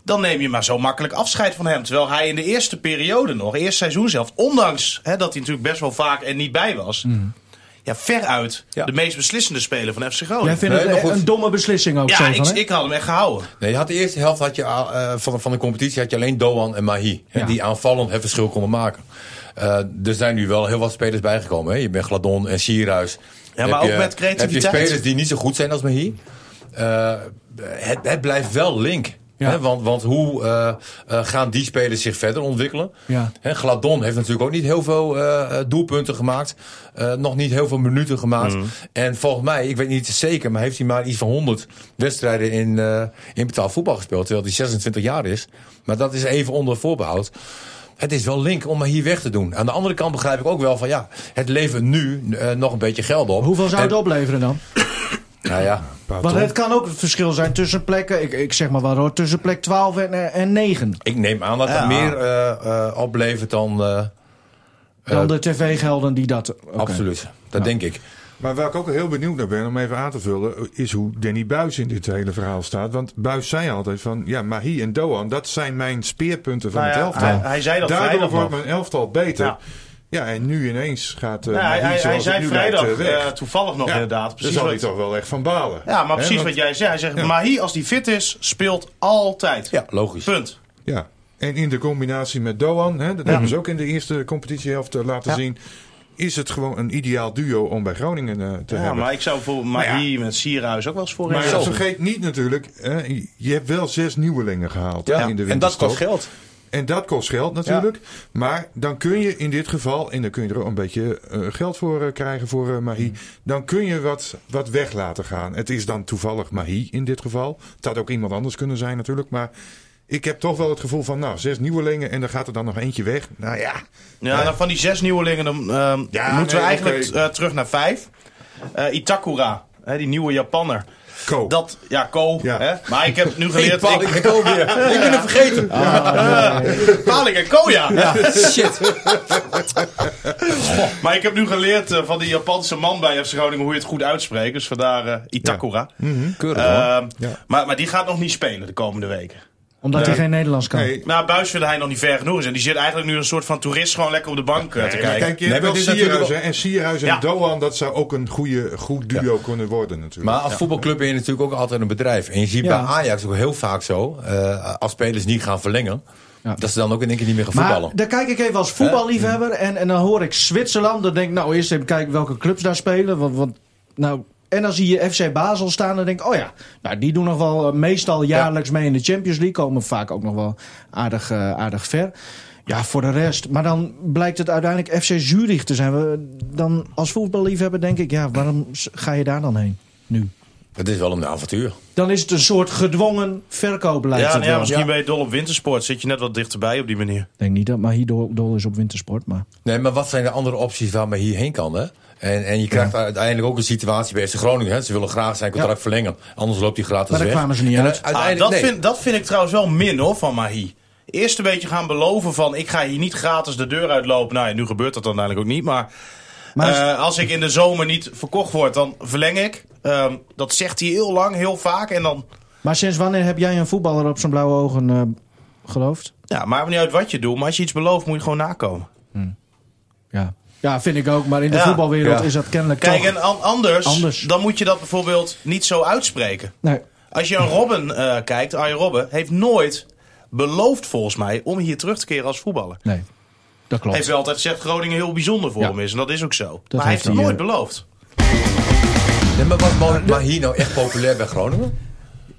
Speaker 3: dan neem je maar zo makkelijk afscheid van hem. Terwijl hij in de eerste periode nog, eerst seizoen zelf, ondanks hè, dat hij natuurlijk best wel vaak er niet bij was. Ja, veruit
Speaker 6: Ja.
Speaker 3: de meest beslissende speler van FC Groningen.
Speaker 2: Jij vindt
Speaker 6: Nee,
Speaker 2: het
Speaker 6: maar
Speaker 2: een,
Speaker 6: goed.
Speaker 2: een domme beslissing ook,
Speaker 3: ja,
Speaker 2: Stefan,
Speaker 3: ik,
Speaker 2: hè?
Speaker 3: ik had hem echt gehouden.
Speaker 6: Nee, je had de eerste helft had je, eh, van, de- van de competitie had je alleen Doan en Mahi. Hè,
Speaker 2: Ja.
Speaker 6: Die aanvallend het verschil konden maken. Eh, er zijn nu wel heel wat spelers bijgekomen. Hè. Je bent Gladon en Sierhuis.
Speaker 3: Ja, maar
Speaker 6: Heb
Speaker 3: ook met creativiteit.
Speaker 6: Heb je spelers die niet zo goed zijn als Mahi. Eh, het, het blijft wel link.
Speaker 2: Ja.
Speaker 6: Hè, want, want hoe eh, eh, gaan die spelers zich verder ontwikkelen?
Speaker 2: Ja.
Speaker 6: Hè, Gladon heeft natuurlijk ook niet heel veel eh, eh, doelpunten gemaakt. eh, nog niet heel veel minuten gemaakt. En volgens mij, ik weet niet zeker, maar heeft hij maar iets van 100 wedstrijden in, eh, in betaald voetbal gespeeld. Terwijl hij 26 jaar is. Maar dat is even onder voorbehoud. Het is wel link om maar hier weg te doen. Aan de andere kant begrijp ik ook wel van ja, het levert nu eh, nog een beetje geld op.
Speaker 2: Hoeveel zou het
Speaker 6: En-
Speaker 2: opleveren dan?
Speaker 6: Nou ja,
Speaker 2: Want het kan ook het verschil zijn tussen plekken, ik, ik zeg maar wat hoor, tussen plek 12 en, eh, en 9.
Speaker 6: ik neem aan dat het
Speaker 3: Ja.
Speaker 6: meer eh, eh, oplevert dan. eh,
Speaker 2: Dan
Speaker 6: Eh,
Speaker 2: de tv-gelden die dat... oké.
Speaker 6: Absoluut, dat denk ik.
Speaker 4: Maar waar ik ook heel benieuwd naar ben, om even aan te vullen, is hoe Danny Buis in dit hele verhaal staat. Want Buis zei altijd van, ja, Mahi en Doan, dat zijn mijn speerpunten van
Speaker 3: Nou ja,
Speaker 4: het elftal.
Speaker 3: hij- hij zei dat
Speaker 4: Daardoor
Speaker 3: vrijdag
Speaker 4: wordt
Speaker 3: nog.
Speaker 4: mijn elftal beter.
Speaker 3: Ja.
Speaker 4: Ja. en nu ineens gaat eh
Speaker 3: Ja, hij,
Speaker 4: Mahi,
Speaker 3: hij,
Speaker 4: zoals
Speaker 3: hij
Speaker 4: het
Speaker 3: zei
Speaker 4: nu
Speaker 3: vrijdag
Speaker 4: lijkt, eh, weg.
Speaker 3: eh, toevallig nog
Speaker 4: Ja,
Speaker 3: inderdaad. Precies
Speaker 4: Daar zal hij
Speaker 3: wat-
Speaker 4: toch wel echt van balen.
Speaker 3: ja, maar precies
Speaker 4: Hè,
Speaker 3: wat
Speaker 4: want-
Speaker 3: jij zegt. Hij zegt, Mahi als die fit is, speelt altijd.
Speaker 6: Ja, logisch.
Speaker 3: Punt.
Speaker 4: Ja. En in de combinatie met Doan, hè, dat hebben ze ook in de eerste competitiehelft eh, laten zien, is het gewoon een ideaal duo om bij Groningen eh, te
Speaker 3: Ja,
Speaker 4: hebben.
Speaker 3: maar ik zou voor Mahi met Sierhuis ook wel eens voorin
Speaker 4: Nou Maar
Speaker 3: zetten.
Speaker 4: vergeet niet natuurlijk, eh, je hebt wel zes nieuwelingen gehaald hè, in de
Speaker 6: en dat
Speaker 4: winterstop.
Speaker 6: kost geld.
Speaker 4: En dat kost geld natuurlijk. Maar dan kun je in dit geval, en dan kun je er ook een beetje eh, geld voor eh, krijgen voor eh Mahi.
Speaker 6: Hmm.
Speaker 4: Dan kun je wat, wat weg laten gaan. Het is dan toevallig Mahi in dit geval. Het had ook iemand anders kunnen zijn natuurlijk. Maar ik heb toch wel het gevoel van, nou, zes nieuwelingen en dan gaat er dan nog eentje weg. Nou ja,
Speaker 3: Ja, dan van die zes nieuwelingen dan, ehm,
Speaker 4: Ja,
Speaker 3: moeten we
Speaker 4: nee,
Speaker 3: eigenlijk
Speaker 4: oké.
Speaker 3: eh, terug naar vijf. Eh, Itakura, hè, die nieuwe Japanner.
Speaker 4: koop.
Speaker 3: Dat, ja, Ko.
Speaker 4: Ja.
Speaker 3: Hè? Maar ik heb nu geleerd...
Speaker 6: Hey, Paul,
Speaker 3: ik,
Speaker 6: ik ben ook weer. Ik ben het vergeten.
Speaker 3: Paling Eh, en Ko, ja.
Speaker 6: Ja, shit.
Speaker 3: Maar ik heb nu geleerd eh, van die Japanse man bij FC Groningen hoe je het goed uitspreekt. Dus vandaar eh, Itakura.
Speaker 2: Hm,
Speaker 6: Keurig hoor.
Speaker 3: Ehm,
Speaker 4: Ja.
Speaker 3: maar, maar die gaat nog niet spelen de komende weken.
Speaker 2: Omdat hij geen Nederlands kan.
Speaker 4: Nee,
Speaker 3: Nou, Buis vindt hij nog niet ver genoeg is. En die zit eigenlijk nu een soort van toerist gewoon lekker op de bank eh, te
Speaker 4: maar
Speaker 3: kijken.
Speaker 4: kijk, je
Speaker 6: Nee,
Speaker 4: hebt
Speaker 6: maar
Speaker 4: wel
Speaker 6: dit is natuurlijk
Speaker 4: Sierhuis. hè.
Speaker 6: wel-
Speaker 4: En Sierhuis en
Speaker 3: Ja.
Speaker 4: Doan, dat zou ook een goede, goed duo kunnen worden natuurlijk.
Speaker 6: Maar als voetbalclub ben je natuurlijk ook altijd een bedrijf. En je ziet
Speaker 2: Ja.
Speaker 6: bij Ajax ook heel vaak zo, eh, als spelers niet gaan verlengen,
Speaker 2: Ja.
Speaker 6: dat ze dan ook in één keer niet meer gaan
Speaker 2: Maar
Speaker 6: voetballen.
Speaker 2: daar kijk ik even als voetballiefhebber en, en dan hoor ik Zwitserland. Dan denk ik, nou eerst even kijken welke clubs daar spelen. Want, want, nou, en dan zie je FC Basel staan dan denk ik, oh ja, nou, die doen nog wel eh, meestal jaarlijks mee in de Champions League. Komen vaak ook nog wel aardig, eh, aardig ver. Ja, voor de rest. Maar dan blijkt het uiteindelijk FC Zurich te zijn. We- Dan als voetballiefhebber denk ik, ja, waarom s- ga je daar dan heen nu?
Speaker 6: Het is wel een avontuur.
Speaker 2: Dan is het een soort gedwongen verkoopbeleid.
Speaker 3: Ja,
Speaker 2: het
Speaker 3: nou ja,
Speaker 2: wel.
Speaker 3: misschien
Speaker 6: Ja.
Speaker 3: ben je dol op wintersport. Zit je net wat dichterbij op die manier.
Speaker 2: Ik denk niet dat Mahi dol, dol is op wintersport, maar...
Speaker 6: Nee, maar wat zijn de andere opties waar men hierheen kan? Hè? En, en je krijgt uiteindelijk ook een situatie bij FC Groningen. Hè? Ze willen graag zijn contract verlengen. Anders loopt hij gratis
Speaker 2: Maar daar
Speaker 6: weg.
Speaker 2: kwamen ze niet
Speaker 6: En
Speaker 2: uit.
Speaker 6: u-
Speaker 3: Ah,
Speaker 6: Uiteindelijk,
Speaker 3: dat,
Speaker 6: nee.
Speaker 3: vind, dat vind ik trouwens wel min hoor, van Mahi. Eerst een beetje gaan beloven van ik ga hier niet gratis de deur uitlopen. Nou ja, nu gebeurt dat uiteindelijk ook niet. Maar,
Speaker 2: Maar als-
Speaker 3: eh, als ik in de zomer niet verkocht word, dan verleng ik. Ehm, dat zegt hij heel lang, heel vaak. En dan
Speaker 2: Maar sinds wanneer heb jij een voetballer op zijn blauwe ogen eh, geloofd?
Speaker 3: Ja, maakt niet uit wat je doet, maar als je iets belooft, moet je gewoon nakomen.
Speaker 2: Ja. ja, vind ik ook. Maar in de
Speaker 3: Ja.
Speaker 2: voetbalwereld
Speaker 6: Ja.
Speaker 2: is dat kennelijk
Speaker 3: Kijk,
Speaker 2: toch...
Speaker 3: en an- anders,
Speaker 2: Anders.
Speaker 3: dan moet je dat bijvoorbeeld niet zo uitspreken.
Speaker 2: Nee.
Speaker 3: Als je aan Robben eh, kijkt, Arjen Robben, heeft nooit beloofd volgens mij om hier terug te keren als voetballer.
Speaker 2: nee, dat klopt.
Speaker 3: Hij heeft wel altijd gezegd Groningen heel bijzonder voor
Speaker 2: Ja.
Speaker 3: hem is. En dat is ook zo. maar
Speaker 2: heeft
Speaker 3: hij heeft het
Speaker 2: hij,
Speaker 3: nooit
Speaker 2: eh,
Speaker 3: beloofd.
Speaker 6: Nee, maar was Mo- maar hier nou echt populair bij Groningen?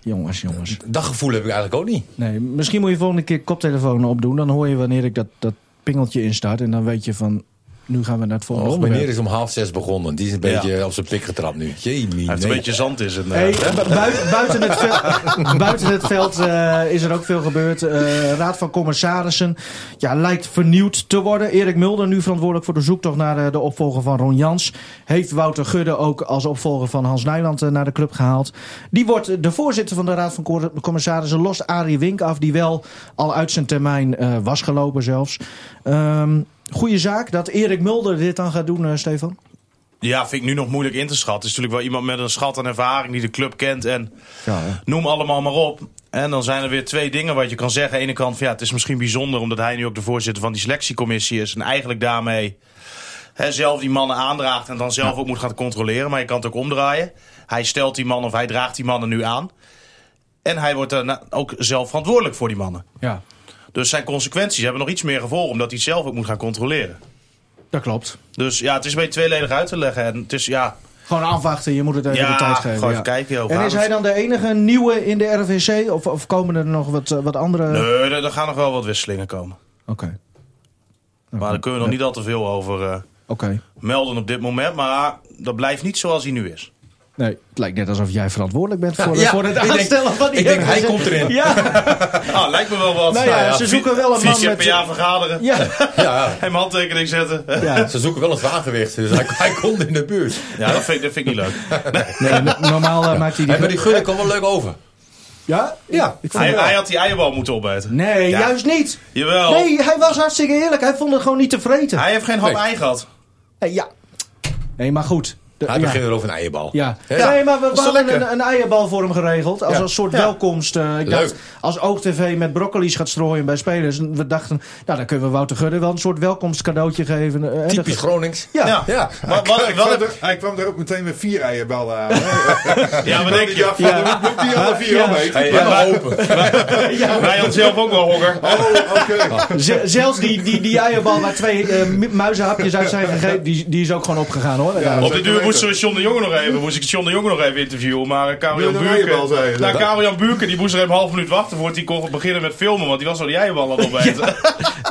Speaker 2: Jongens, jongens.
Speaker 6: Dat gevoel heb ik eigenlijk ook niet.
Speaker 2: Nee, misschien moet je volgende keer koptelefoon opdoen. Dan hoor je wanneer ik dat, dat pingeltje instart. En dan weet je van, nu gaan we naar het volgende
Speaker 6: Och, meneer
Speaker 2: onderwerp.
Speaker 6: is om half zes begonnen. Die is een beetje op zijn pik getrapt nu. Jee,
Speaker 3: Hij
Speaker 6: nee.
Speaker 3: heeft een beetje zand in zijn... eh,
Speaker 2: Hey, bu- buiten, buiten het veld, buiten het veld eh, is er ook veel gebeurd. Eh, Raad van Commissarissen ja, lijkt vernieuwd te worden. Erik Mulder, nu verantwoordelijk voor de zoektocht naar eh, de opvolger van Ron Jans. Heeft Wouter Gudde ook als opvolger van Hans Nijland eh, naar de club gehaald. Die wordt eh, de voorzitter van de Raad van Cor- Commissarissen. Lost Arie Wink af, die wel al uit zijn termijn eh, was gelopen zelfs. Ehm goede zaak dat Erik Mulder dit dan gaat doen, eh, Stefan.
Speaker 3: Ja, vind ik nu nog moeilijk in te schatten. Het is natuurlijk wel iemand met een schat aan ervaring die de club kent. En
Speaker 2: Ja, hè.
Speaker 3: noem allemaal maar op. En dan zijn er weer twee dingen wat je kan zeggen. Aan de ene kant, van, ja, het is misschien bijzonder omdat hij nu ook de voorzitter van die selectiecommissie is. En eigenlijk daarmee hè, zelf die mannen aandraagt en dan zelf ook moet gaan controleren. Maar je kan het ook omdraaien. Hij stelt die mannen of hij draagt die mannen nu aan. En hij wordt daarna ook zelf verantwoordelijk voor die mannen.
Speaker 2: Ja,
Speaker 3: Dus zijn consequenties hebben nog iets meer gevolgen omdat hij het zelf ook moet gaan controleren.
Speaker 2: dat klopt.
Speaker 3: Dus ja, het is een beetje tweeledig uit te leggen. En het is ja,
Speaker 2: Gewoon afwachten, je moet het even
Speaker 3: Ja,
Speaker 2: de tijd geven.
Speaker 3: gewoon even kijken, joh.
Speaker 2: En
Speaker 3: Waarom
Speaker 2: is hij
Speaker 3: het-
Speaker 2: dan de enige nieuwe in de RVC? Of, of komen er nog wat, eh, wat andere?
Speaker 3: Nee, er, er gaan nog wel wat wisselingen komen.
Speaker 2: Oké,
Speaker 3: Maar daar kunnen we nog niet al te veel over eh,
Speaker 2: oké.
Speaker 3: melden op dit moment. Maar dat blijft niet zoals hij nu is.
Speaker 2: Nee, het lijkt net alsof jij verantwoordelijk bent voor,
Speaker 6: Ja,
Speaker 2: voor het
Speaker 6: ik denk-
Speaker 2: aanstellen van die
Speaker 6: ik denk, hij
Speaker 2: RVC.
Speaker 6: komt erin.
Speaker 2: Ja,
Speaker 3: Ah, lijkt me wel wat.
Speaker 2: nou ja, ze zoeken wel een
Speaker 3: Vier
Speaker 2: man
Speaker 3: keer
Speaker 2: met...
Speaker 3: per jaar vergaderen.
Speaker 2: Ja,
Speaker 6: Ja,
Speaker 3: Hem handtekening zetten. Ja,
Speaker 2: ja.
Speaker 6: ze zoeken wel een zwaargewicht. Dus hij, hij komt in de buurt.
Speaker 3: dat, vind, ik- dat vind ik niet leuk.
Speaker 2: Nee, no- normaal eh, maakt hij die...
Speaker 6: Hey, maar die Gudde komt wel leuk over.
Speaker 2: Ja?
Speaker 6: Ja,
Speaker 2: Ik vond
Speaker 3: Hij,
Speaker 2: wel.
Speaker 3: hij had die eierbal moeten opeten.
Speaker 2: Nee,
Speaker 3: Ja.
Speaker 2: juist niet.
Speaker 3: Jawel.
Speaker 2: Nee, hij was hartstiei eerlijk. Hij vond het gewoon niet te vreten.
Speaker 3: Hij heeft geen hap
Speaker 6: Nee.
Speaker 3: ei gehad.
Speaker 2: Nee, ja. Nee, maar goed. De-
Speaker 6: Hij
Speaker 2: ja.
Speaker 6: begint weer over een eierbal.
Speaker 2: Ja.
Speaker 6: Hè?
Speaker 2: Nee, maar we, we
Speaker 6: toch
Speaker 2: hadden
Speaker 6: lekker?
Speaker 2: een, een eierbal voor hem geregeld. Als
Speaker 6: Ja.
Speaker 2: een soort
Speaker 6: Ja.
Speaker 2: welkomst. eh, ik
Speaker 6: Leuk.
Speaker 2: dacht, als OogTV met broccoli's gaat strooien bij spelers. en We dachten, nou dan kunnen we Wouter Gudde wel een soort welkomstcadeautje geven. eh, eh,
Speaker 6: Typisch
Speaker 2: dat-
Speaker 6: Gronings.
Speaker 2: Ja.
Speaker 3: Ja.
Speaker 6: Ja.
Speaker 3: Maar
Speaker 2: Oh,
Speaker 3: wat,
Speaker 4: Hij
Speaker 3: wat
Speaker 4: kwam,
Speaker 3: heb-
Speaker 4: er, hij kwam er ook meteen met vier eierballen aan.
Speaker 3: ja, wat
Speaker 4: Dan
Speaker 3: denk
Speaker 4: denk je,
Speaker 3: je?
Speaker 4: ja, van,
Speaker 2: Ja.
Speaker 4: dan moet die alle vier
Speaker 2: Ja.
Speaker 4: omheen.
Speaker 6: Hey,
Speaker 3: maar-
Speaker 6: helemaal open.
Speaker 3: Wij hadden zelf ook wel honger.
Speaker 4: Oh, oké.
Speaker 2: Z- zelfs die, die, die eierbal waar twee eh, mu- muizenhapjes uit zijn gegeven, die, die is ook gewoon opgegaan hoor. Ja.
Speaker 3: Op de duur
Speaker 4: weten.
Speaker 3: moesten we John de Jonge nog even, moest ik John de Jonge nog even interviewen. Maar eh, Karel-Jan
Speaker 4: Wil je een eierbal,
Speaker 3: Buurken,
Speaker 4: zei je?
Speaker 3: nou, Karel-Jan Buurken die moest er even een half minuut wachten voordat hij kon beginnen met filmen. Want die was al die eierbal aan het opeten.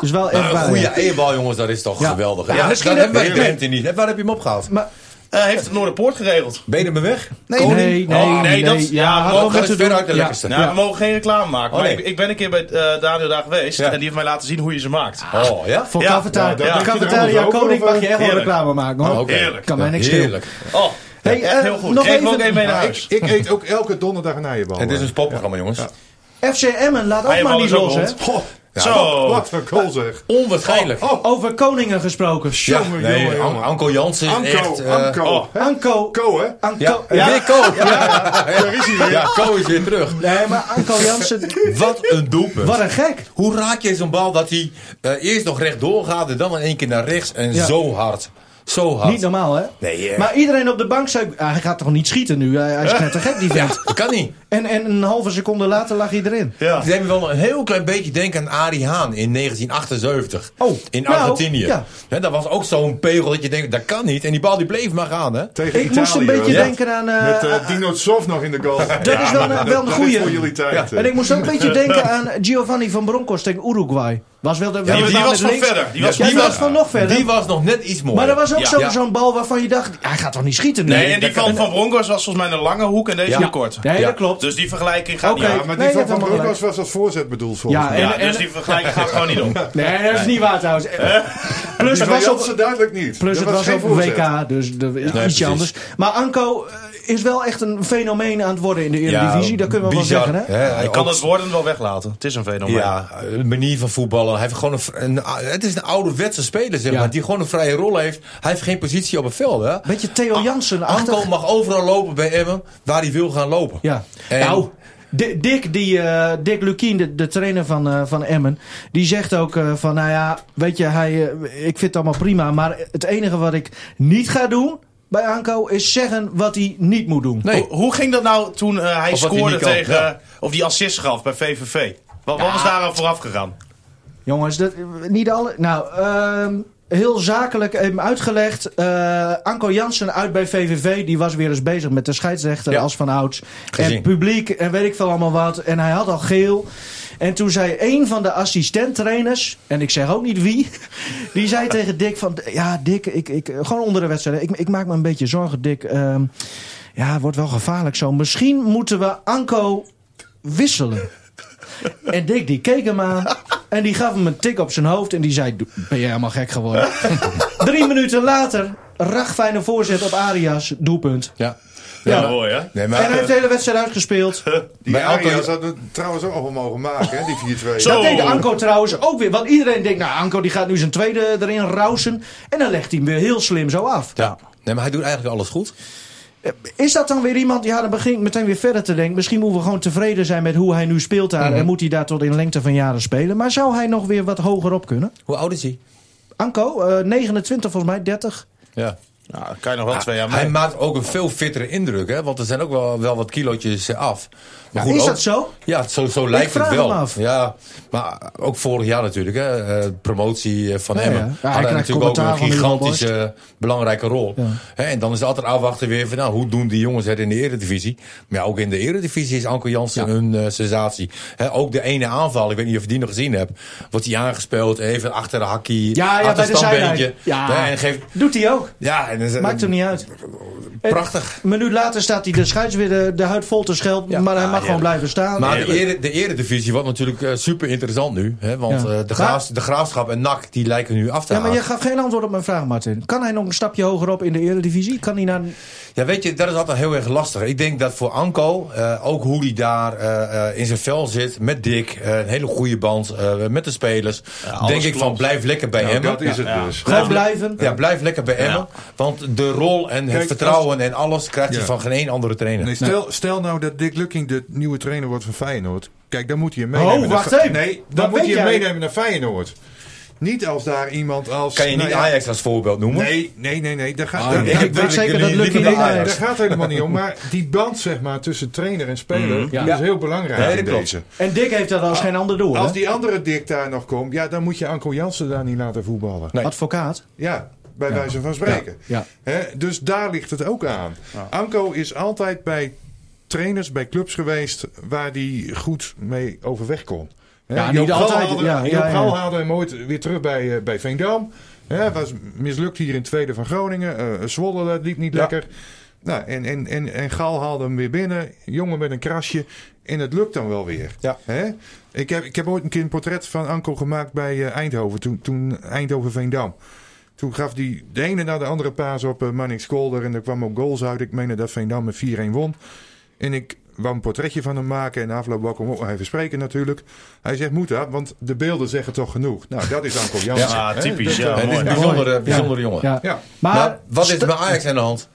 Speaker 2: Is wel echt waar.
Speaker 6: Nou, Goeie
Speaker 2: ja.
Speaker 6: eierbal, jongens, dat is toch
Speaker 2: Ja.
Speaker 6: geweldig. Ja,
Speaker 2: Ja, misschien
Speaker 6: misschien hebben wij
Speaker 2: heb-
Speaker 6: in Drenthe niet. Hè, Waar heb je hem opgehaald?
Speaker 2: Maar,
Speaker 3: Eh, heeft het Noorderpoort geregeld?
Speaker 6: Benen me weg?
Speaker 2: nee, nee, nee,
Speaker 3: Oh, nee, dat-
Speaker 2: nee.
Speaker 3: ja,
Speaker 2: hadden we
Speaker 3: dat
Speaker 2: met
Speaker 6: is
Speaker 2: te doen.
Speaker 6: veruit de
Speaker 2: Ja.
Speaker 6: lekkerste.
Speaker 3: Nou,
Speaker 2: Ja.
Speaker 3: we mogen geen reclame maken.
Speaker 6: Oh,
Speaker 3: maar
Speaker 6: nee.
Speaker 3: ik, ik ben een keer bij eh, Daniel daar geweest.
Speaker 6: Ja.
Speaker 3: En die heeft mij laten zien hoe je ze maakt.
Speaker 6: Oh, ja?
Speaker 2: Voor
Speaker 3: Ja.
Speaker 2: cafetaria,
Speaker 3: Ja, dat denk je
Speaker 2: cafetaria
Speaker 4: trouwens ook,
Speaker 2: Koning
Speaker 4: of,
Speaker 2: mag je echt wel
Speaker 3: Heerlijk.
Speaker 2: reclame maken hoor.
Speaker 6: Oké.
Speaker 3: Heerlijk.
Speaker 2: Kan mij niks
Speaker 6: Heerlijk.
Speaker 3: Oh,
Speaker 2: Hey,
Speaker 3: echt
Speaker 2: eh,
Speaker 3: heel goed.
Speaker 2: nog
Speaker 3: Geef me ook
Speaker 2: even-
Speaker 3: even mee naar
Speaker 2: Ja,
Speaker 3: huis.
Speaker 4: Ik eet ook elke donderdag een eierbal.
Speaker 6: Het is een spotprogramma, jongens.
Speaker 2: FC Emmen laat ook maar
Speaker 3: Eierbal
Speaker 2: niet
Speaker 3: is ook
Speaker 2: los hè.
Speaker 3: rond.
Speaker 6: Goh,
Speaker 2: Oh.
Speaker 3: Zo.
Speaker 4: Wat een goal zeg.
Speaker 6: Onwaarschijnlijk.
Speaker 4: Oh,
Speaker 2: Over koningen gesproken.
Speaker 6: ja,
Speaker 4: jongen,
Speaker 6: nee,
Speaker 4: jongen,
Speaker 6: An-
Speaker 4: jongen.
Speaker 6: Anko Jansen is echt...
Speaker 4: Anko,
Speaker 6: eh,
Speaker 4: Anko.
Speaker 3: oh.
Speaker 4: hè?
Speaker 2: Anko.
Speaker 4: Ko, hè?
Speaker 2: Anko.
Speaker 6: Ja,
Speaker 2: Ja.
Speaker 6: weer Ko. Daar is hij weer. Ja, Ko is weer terug.
Speaker 2: Nee, maar Anko Jansen.
Speaker 6: Wat een doelpunt.
Speaker 2: Wat een gek.
Speaker 6: Hoe raak je zo'n bal dat hij eh, eerst nog rechtdoor gaat en dan in één keer naar rechts en
Speaker 2: Ja.
Speaker 6: zo hard. Zo hard.
Speaker 2: Niet normaal, hè?
Speaker 6: Nee, eh.
Speaker 2: Maar iedereen op de bank zei... "Ah, hij gaat toch niet schieten nu? Hij, hij is net te gek, die
Speaker 6: Ja,
Speaker 2: vent.
Speaker 6: dat kan niet.
Speaker 2: En, en een halve seconde later lag hij erin.
Speaker 3: Ja.
Speaker 6: Ze hebben wel een heel klein beetje denken aan Arie Haan in 1978.
Speaker 2: Oh,
Speaker 6: in
Speaker 2: nou,
Speaker 6: Argentinië.
Speaker 2: ja.
Speaker 6: Hè, dat was ook zo'n pegel dat je denkt, dat kan niet. En die bal die bleef maar gaan. Hè?
Speaker 4: Tegen
Speaker 2: Ik
Speaker 4: Italië.
Speaker 2: moest een beetje
Speaker 4: hoor.
Speaker 2: denken aan... eh,
Speaker 4: Met eh, Dino Tsov nog in de goal.
Speaker 2: dat is wel, een- wel een
Speaker 4: Dat is voor
Speaker 2: goeie.
Speaker 4: jullie tijd.
Speaker 2: En ik moest ook een beetje denken aan Giovanni van Bronckhorst tegen Uruguay. Was wel de,
Speaker 3: die
Speaker 2: met
Speaker 3: was
Speaker 2: links-
Speaker 3: van verder. Die was-
Speaker 2: Ja,
Speaker 6: die was
Speaker 2: van nog verder.
Speaker 6: Die was nog net iets mooier.
Speaker 2: maar er was ook
Speaker 3: Ja.
Speaker 2: zo-
Speaker 6: Ja.
Speaker 2: zo'n bal waarvan je dacht... Hij gaat toch niet schieten nu?
Speaker 3: Nee, en die
Speaker 6: dat
Speaker 3: van
Speaker 6: kan-
Speaker 3: Van Bronckhorst was volgens mij een lange hoek en deze
Speaker 6: Ja.
Speaker 3: een korte.
Speaker 2: Nee,
Speaker 6: Ja.
Speaker 2: dat klopt.
Speaker 3: Dus die vergelijking gaat
Speaker 2: Oké.
Speaker 3: niet
Speaker 4: Ja,
Speaker 3: op.
Speaker 4: maar
Speaker 2: Nee,
Speaker 4: die
Speaker 2: dat
Speaker 4: van Van
Speaker 2: helemaal
Speaker 4: Bronckhorst was als voorzet bedoeld volgens
Speaker 2: Ja,
Speaker 4: mij.
Speaker 2: en-
Speaker 3: Ja,
Speaker 2: en-
Speaker 3: dus die vergelijking gaat gewoon niet op.
Speaker 2: Nee, dat is niet waar trouwens. Plus,
Speaker 4: Die
Speaker 2: het
Speaker 4: van
Speaker 2: was
Speaker 4: Jansen
Speaker 2: op,
Speaker 4: duidelijk niet.
Speaker 2: plus
Speaker 4: Dat
Speaker 2: het was
Speaker 4: geen
Speaker 2: op een
Speaker 4: voorzet.
Speaker 2: WK, dus de, ietsje
Speaker 6: precies.
Speaker 2: anders. Maar Anko eh, is wel echt een fenomeen aan het worden in de Eredivisie. dat kunnen we
Speaker 6: bizar,
Speaker 2: wel zeggen, hè?
Speaker 6: hè?
Speaker 3: Ik
Speaker 6: Ook
Speaker 3: kan het woorden wel weglaten. Het is een fenomeen.
Speaker 6: Ja, de manier van voetballen. Hij heeft gewoon een, v- een, eh, het is een ouderwetse speler, zeg
Speaker 2: Ja.
Speaker 6: maar, die gewoon een vrije rol heeft. Hij heeft geen positie op het veld, hè? Ah,
Speaker 2: Beetje Theo Jansen
Speaker 6: Anko
Speaker 2: achter.
Speaker 6: mag overal lopen bij Emmen, waar hij wil gaan lopen.
Speaker 2: Ja.
Speaker 6: En-
Speaker 2: Nou, Di- Dick, die, eh, Dick Lukien, de, de trainer van, eh, van Emmen, die zegt ook eh, van, nou ja, weet je, hij, eh, ik vind het allemaal prima, maar het enige wat ik niet ga doen bij Anko is zeggen wat hij niet moet doen.
Speaker 6: Nee.
Speaker 3: Hoe, hoe ging dat nou toen eh, hij
Speaker 6: Of wat hij
Speaker 3: scoorde
Speaker 6: niet kan,
Speaker 3: tegen...
Speaker 6: ja.
Speaker 3: Of die assist gaf bij VVV? Wat, wat was daar aan vooraf gegaan?
Speaker 2: Jongens, dat, niet alle. Nou, ehm, heel zakelijk even uitgelegd. Eh, Anko Jansen uit bij VVV. Die was weer eens bezig met de scheidsrechter
Speaker 6: Ja.
Speaker 2: als van ouds.
Speaker 6: Gezien.
Speaker 2: En publiek en weet ik veel allemaal wat. En hij had al geel. En toen zei een van de assistenttrainers, en ik zeg ook niet wie, die zei tegen Dick van, ja Dick, ik, ik, gewoon onder de wedstrijd, ik, ik maak me een beetje zorgen Dick. Ehm, ja, het wordt wel gevaarlijk zo. Misschien moeten we Anko wisselen. En Dick die keek hem aan en die gaf hem een tik op zijn hoofd en die zei, "Doe- ben je helemaal gek geworden. Drie minuten later, ragfijne voorzet op Arias, doelpunt.
Speaker 6: Ja.
Speaker 3: Ja,
Speaker 6: maar-
Speaker 3: mooi hè?
Speaker 6: Nee,
Speaker 2: En hij
Speaker 6: maar,
Speaker 2: heeft de hele wedstrijd uitgespeeld.
Speaker 4: Die
Speaker 6: Bij Anko-
Speaker 4: Arias had het trouwens ook wel mogen maken, hè, die 4-2.
Speaker 3: Zo.
Speaker 6: Oh.
Speaker 2: Dat deed Anko trouwens ook weer. Want iedereen denkt, nou Anko die gaat nu zijn tweede erin rausen. En dan legt hij hem weer heel slim zo af.
Speaker 6: ja. nee, maar hij doet eigenlijk alles goed.
Speaker 2: Is dat dan weer iemand, ja dan begin ik meteen weer verder te denken. Misschien moeten we gewoon tevreden zijn met hoe hij nu speelt daar.
Speaker 6: Mhm.
Speaker 2: En moet hij daar tot in lengte van jaren spelen. Maar zou hij nog weer wat hoger op kunnen?
Speaker 6: Hoe oud is hij?
Speaker 2: Anko, eh, 29 volgens mij, 30.
Speaker 6: Ja.
Speaker 3: Nou, daar kan je nog wel twee jaar mee.
Speaker 6: Ah, Hij maakt ook een veel fittere indruk, hè? Want er zijn ook wel, wel wat kilootjes eh, af. Maar
Speaker 2: is
Speaker 6: ook-
Speaker 2: dat zo?
Speaker 6: Ja, zo, zo lijkt
Speaker 2: vraag
Speaker 6: het wel.
Speaker 2: hem af.
Speaker 6: Ja, maar ook vorig jaar natuurlijk, hè? eh, promotie eh, van
Speaker 2: Ja,
Speaker 6: Emmen.
Speaker 2: ja. Ja,
Speaker 6: Had
Speaker 2: hij
Speaker 6: hij
Speaker 2: krijgt
Speaker 6: natuurlijk ook
Speaker 2: commentaar
Speaker 6: een
Speaker 2: van Hugo
Speaker 6: gigantische eh, belangrijke rol. Hè, en dan is het altijd afwachten weer van, nou, hoe doen die jongens het in de eredivisie? Maar ja, ook in de eredivisie is Anko Jansen een eh, sensatie. Hè, ook de ene aanval, ik weet niet of je die nog gezien hebt, wordt hij aangespeeld, even achter de hakkie,
Speaker 2: Ja, ja
Speaker 6: achter
Speaker 2: bij de zijlijn.
Speaker 6: standbeentje.
Speaker 2: Ja.
Speaker 6: Ja, en geeft,
Speaker 2: Doet hij ook.
Speaker 6: ja, en dan is-
Speaker 2: Maakt hem niet uit.
Speaker 6: prachtig.
Speaker 2: Een minuut later staat hij de scheids weer de, de huid vol te schelpen.
Speaker 6: Ja.
Speaker 2: Maar hij
Speaker 6: Ah,
Speaker 2: mag gewoon
Speaker 6: heerlijk.
Speaker 2: blijven staan.
Speaker 6: Maar de,
Speaker 3: Heerlijk.
Speaker 6: ere, de eredivisie wordt natuurlijk eh, super interessant nu. Hè, want
Speaker 2: Ja.
Speaker 6: eh, de, graafs, de graafschap en NAC die lijken nu af te
Speaker 2: Ja,
Speaker 6: haken.
Speaker 2: maar
Speaker 6: Ja,
Speaker 2: je gaf geen antwoord op mijn vraag, Martin. Kan hij nog een stapje hoger op in de Eredivisie? Kan hij nou naar...
Speaker 6: weet je, dat is altijd heel erg lastig. Ik denk dat voor Anko, eh, ook hoe hij daar eh, eh, in zijn vel zit, met Dick, eh, een hele goede band eh, met de spelers.
Speaker 3: alles
Speaker 6: denk ik van
Speaker 3: klopt.
Speaker 6: blijf lekker bij
Speaker 4: Nou,
Speaker 6: Emmen.
Speaker 4: dat is het dus.
Speaker 2: Gewoon blijven?
Speaker 6: Ja, blijf lekker bij Emmen. Want de rol en het
Speaker 4: Kijk,
Speaker 6: vertrouwen en alles krijgt hij
Speaker 4: Ja.
Speaker 6: van geen één andere trainer.
Speaker 4: Nee, stel, stel nou dat Dick Lucking de nieuwe trainer wordt van Feyenoord. Kijk, dan moet hij hem meenemen.
Speaker 2: Oh,
Speaker 4: naar
Speaker 2: wacht
Speaker 4: Fe-
Speaker 2: even.
Speaker 4: Nee,
Speaker 2: Wat
Speaker 4: dan moet
Speaker 2: weet
Speaker 4: hij hem
Speaker 2: jij?
Speaker 4: meenemen naar Feyenoord. Niet als daar iemand als...
Speaker 6: Kan je niet
Speaker 4: nou ja,
Speaker 6: Ajax als voorbeeld noemen?
Speaker 4: Nee, nee, nee, nee. Daar gaat,
Speaker 6: Ah,
Speaker 4: daar-
Speaker 6: nee.
Speaker 4: daar-
Speaker 2: Ik weet zeker dat
Speaker 6: liever
Speaker 2: Lucky
Speaker 6: bij
Speaker 2: niet naar
Speaker 6: Ajax.
Speaker 4: daar
Speaker 2: Ajax.
Speaker 4: gaat het helemaal niet om. Maar die band zeg maar, tussen trainer en speler die
Speaker 2: Ja.
Speaker 4: is heel belangrijk
Speaker 6: Nee, dat
Speaker 4: in
Speaker 6: klopt.
Speaker 4: deze.
Speaker 2: En Dick heeft dat als geen ander door, hè?
Speaker 4: Als die andere Dick daar nog komt, ja, dan moet je Anko Jansen daar niet laten voetballen.
Speaker 6: Nee.
Speaker 2: Advocaat.
Speaker 4: Ja, bij wijze van spreken.
Speaker 2: Ja.
Speaker 4: Hè, dus daar ligt het ook aan. Anko is altijd bij trainers, bij clubs geweest waar hij goed mee overweg kon. Hè,
Speaker 2: Ja,
Speaker 4: Joop
Speaker 2: niet
Speaker 4: Gal
Speaker 2: altijd.
Speaker 4: Haalde,
Speaker 2: Ja, ja,
Speaker 4: Joop
Speaker 2: ja.
Speaker 4: Gal haalde hem ooit weer terug bij, eh, bij Veendam. Hè, was mislukt hier in het tweede van Groningen. Eh, Zwolle dat liep niet
Speaker 6: Ja.
Speaker 4: lekker. Nou, en, en, en, en Gal haalde hem weer binnen. Jongen met een krasje. En het lukt dan wel weer.
Speaker 6: Ja.
Speaker 4: Hè? Ik, heb, ik heb ooit een keer een portret van Anko gemaakt bij eh, Eindhoven. Toen, toen Eindhoven-Veendam. Toen gaf hij de ene na de andere paas op eh, Manning Kolder. En er kwam ook goals uit. Ik meende dat Veendam met 4-1 won. En ik wou een portretje van hem maken. En na afloop wou ik hem ook nog even spreken natuurlijk. Hij zegt, moet dat, want de beelden zeggen toch genoeg. Nou, dat is Anko Jansen.
Speaker 3: Ja,
Speaker 4: hè.
Speaker 3: Ah, typisch.
Speaker 4: Dat-
Speaker 6: het is
Speaker 3: Ja, mooi.
Speaker 6: een bijzondere, bijzondere jongen.
Speaker 2: Ja.
Speaker 4: Ja.
Speaker 2: Maar,
Speaker 6: Maar Nou, wat is
Speaker 2: sta-
Speaker 6: er met Ajax aan de hand?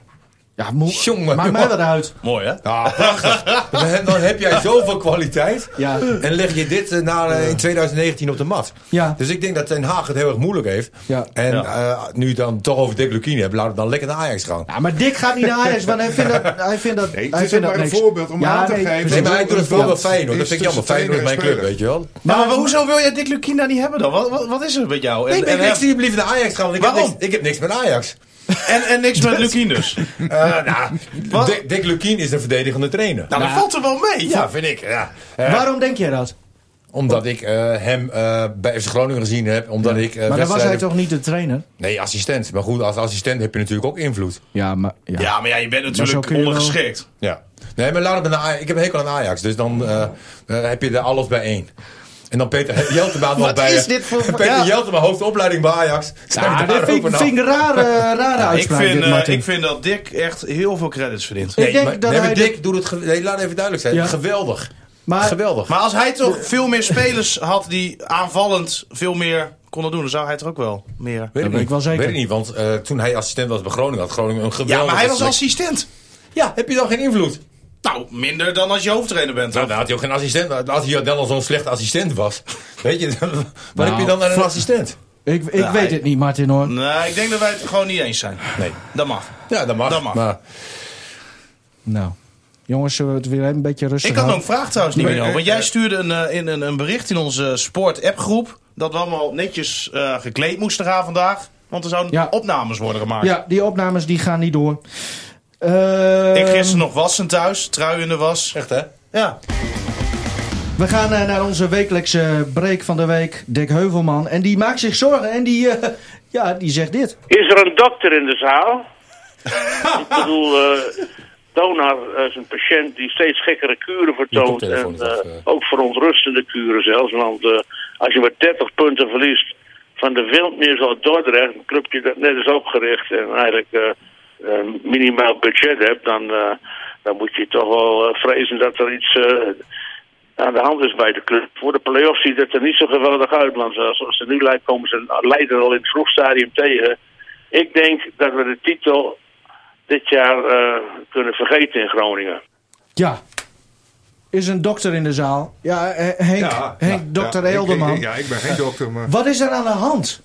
Speaker 2: Ja, moe-
Speaker 6: Jongen,
Speaker 2: maakt mij
Speaker 6: jongen.
Speaker 2: dat uit.
Speaker 3: Mooi, hè?
Speaker 6: Ja, Ah, prachtig. Dan heb- Dan heb jij zoveel kwaliteit.
Speaker 2: Ja.
Speaker 6: En leg je dit eh, na, eh, in 2019 op de mat.
Speaker 2: Ja.
Speaker 6: Dus ik denk dat Ten Haag het heel erg moeilijk heeft.
Speaker 2: Ja.
Speaker 6: En eh, nu je dan toch over Dick Lukien hebt, laat het dan lekker naar Ajax gaan.
Speaker 2: Ja, maar Dick gaat niet naar Ajax, want hij vindt dat. Hij vindt dat
Speaker 4: Nee, het
Speaker 2: hij
Speaker 4: is
Speaker 2: vindt
Speaker 4: maar
Speaker 2: dat
Speaker 4: een
Speaker 2: niks.
Speaker 4: voorbeeld om aan te geven.
Speaker 2: precies.
Speaker 6: Nee, maar hij doet het vooral wel fijn hoor. Dat
Speaker 4: Is
Speaker 6: vind ik jammer.
Speaker 4: tussen
Speaker 6: Fijn is mijn
Speaker 4: trainer
Speaker 6: club,
Speaker 4: en
Speaker 6: weet je wel.
Speaker 3: Nou, Maar, maar hoezo wil jij Dick Lukina niet hebben dan? Wat, wat, wat is er met jou? En,
Speaker 6: Ik, ben
Speaker 3: en,
Speaker 6: ik zie hem liever naar Ajax gaan, want ik,
Speaker 3: Waarom?
Speaker 6: Heb, niks, ik heb niks met Ajax.
Speaker 3: en, en niks met Lukien dus?
Speaker 6: Eh, nou, Dick, Dick Lukien is een verdedigende trainer.
Speaker 3: Nou, dat valt er wel mee.
Speaker 6: ja,
Speaker 3: Ja.
Speaker 6: vind ik. Ja.
Speaker 3: Eh,
Speaker 2: Waarom denk jij dat?
Speaker 6: Omdat ik eh, hem eh, bij FC Groningen gezien heb. Omdat ik,
Speaker 2: Maar
Speaker 6: eh,
Speaker 2: dan was hij
Speaker 6: wedstrijden-
Speaker 2: toch niet de trainer?
Speaker 6: Nee, assistent. Maar goed, als assistent heb je natuurlijk ook invloed.
Speaker 2: Ja, maar.
Speaker 3: Ja, maar ja, je bent natuurlijk
Speaker 2: kun je wel-
Speaker 3: ondergeschikt.
Speaker 6: Ja. Nee, maar laat het naar Ajax. Ik heb een hekel aan Ajax. Dus dan eh, eh, heb je er alles bij één. En dan Peter Jeltema nog
Speaker 2: Wat
Speaker 6: bij. eh,
Speaker 2: is dit voor-
Speaker 6: Peter
Speaker 2: ja.
Speaker 6: Jeltema, hoofdopleiding bij Ajax. Zijn
Speaker 3: Ah,
Speaker 6: we
Speaker 2: dat
Speaker 6: daar
Speaker 2: vind,
Speaker 6: ook
Speaker 2: ik-
Speaker 6: vanaf?
Speaker 2: vind ik een rare, rare
Speaker 3: Ik
Speaker 2: uitspraak.
Speaker 3: vind,
Speaker 2: dit,
Speaker 3: eh,
Speaker 2: Martin.
Speaker 3: ik vind dat Dick echt heel veel credits verdient.
Speaker 2: Ik
Speaker 6: Nee,
Speaker 2: denk
Speaker 6: maar,
Speaker 2: dat
Speaker 6: nee, maar
Speaker 2: hij
Speaker 6: Dick doet het. ge- Nee, laat even duidelijk zijn.
Speaker 2: Ja.
Speaker 6: Geweldig.
Speaker 2: maar,
Speaker 6: Geweldig.
Speaker 3: Maar als hij toch veel meer spelers had die aanvallend veel meer konden doen, dan zou hij er ook wel
Speaker 6: weet
Speaker 3: meer.
Speaker 2: dat
Speaker 6: ik
Speaker 2: ben
Speaker 6: niet.
Speaker 2: ik wel zeker.
Speaker 6: Weet ik niet, want eh, toen hij assistent was bij Groningen had Groningen een geweldige
Speaker 3: Ja, maar hij was
Speaker 6: selectie.
Speaker 3: assistent.
Speaker 6: Ja, heb je dan geen invloed?
Speaker 3: Nou, minder dan als je hoofdtrainer bent.
Speaker 6: Nou,
Speaker 3: toch?
Speaker 6: dan had hij ook geen assistent. Als hij dan al zo'n slechte assistent was. Weet je, dan- wat heb je
Speaker 2: Nou,
Speaker 6: dan aan een assistent?
Speaker 2: Ik, ik
Speaker 3: Ja,
Speaker 2: weet
Speaker 3: hij-
Speaker 2: het niet, Martin hoor.
Speaker 3: Nee, Nou, ik denk dat wij het gewoon niet eens zijn.
Speaker 6: Nee.
Speaker 3: Dat mag.
Speaker 6: Ja, dat mag.
Speaker 3: Dat mag.
Speaker 6: Maar
Speaker 2: Nou, jongens, zullen we het weer een beetje rustig
Speaker 3: Ik had nog een
Speaker 2: houden?
Speaker 3: vraag trouwens, Nino.
Speaker 4: Nee, eh,
Speaker 3: want jij
Speaker 4: eh.
Speaker 3: stuurde een, eh, in, een, een bericht in onze sport-appgroep... dat we allemaal netjes eh, gekleed moesten gaan vandaag. Want er zouden
Speaker 2: Ja.
Speaker 3: opnames worden gemaakt.
Speaker 2: Ja, die opnames die gaan niet door.
Speaker 3: Ik
Speaker 2: Ehm,
Speaker 3: gisteren nog wassen thuis, trui in de was.
Speaker 6: echt hè?
Speaker 3: Ja.
Speaker 2: We gaan eh, naar onze wekelijkse break van de week. Dick Heuvelman. En die maakt zich zorgen. En die, eh, ja, die zegt dit.
Speaker 7: Is er een dokter in de zaal? ik bedoel, eh Donar is een patiënt die steeds gekkere kuren vertoont.
Speaker 6: Die koptelefoon
Speaker 7: En
Speaker 6: is af,
Speaker 7: eh,
Speaker 6: eh.
Speaker 7: ook verontrustende kuren zelfs. Want eh, als je maar 30 punten verliest van de Wildmeers uit Dordrecht... een clubje dat net is opgericht en eigenlijk eh, een minimaal budget hebt... dan, eh, dan moet je toch wel eh, vrezen dat er iets... eh, aan de hand is bij de club. Voor de play-offs ziet het er niet zo geweldig uit. Want zoals zoals het nu lijkt komen ze Leiden al in het vroeg stadium tegen. Ik denk dat we de titel dit jaar eh, kunnen vergeten in Groningen.
Speaker 2: Ja. Is een dokter in de zaal? Ja, eh, Henk,
Speaker 4: Ja,
Speaker 2: Henk
Speaker 4: ja,
Speaker 2: dokter
Speaker 4: ja, ik-
Speaker 2: Eelderman.
Speaker 4: ik- Ja, ik ben geen dokter, maar...
Speaker 2: Wat is er aan de hand?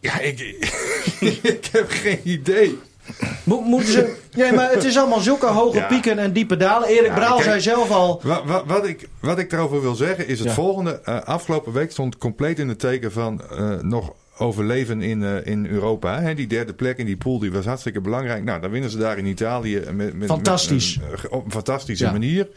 Speaker 4: Ja, ik, ik heb geen idee.
Speaker 2: Mo- moeten ze... Nee, maar het is allemaal zulke hoge
Speaker 4: Ja.
Speaker 2: pieken en diepe dalen. Erik
Speaker 4: Ja,
Speaker 2: Braal
Speaker 4: kijk.
Speaker 2: zei zelf al...
Speaker 4: Wat, wat, wat, ik, wat ik daarover wil zeggen is het
Speaker 2: Ja.
Speaker 4: volgende. Eh, afgelopen week stond compleet in het teken van eh, nog overleven in, eh, in Europa. Hè? Die derde plek in die pool die was hartstikke belangrijk. Nou, dan winnen ze daar in Italië. Met, met- met,
Speaker 2: Fantastisch.
Speaker 4: een, eh, ge- op een fantastische
Speaker 2: Ja.
Speaker 4: manier.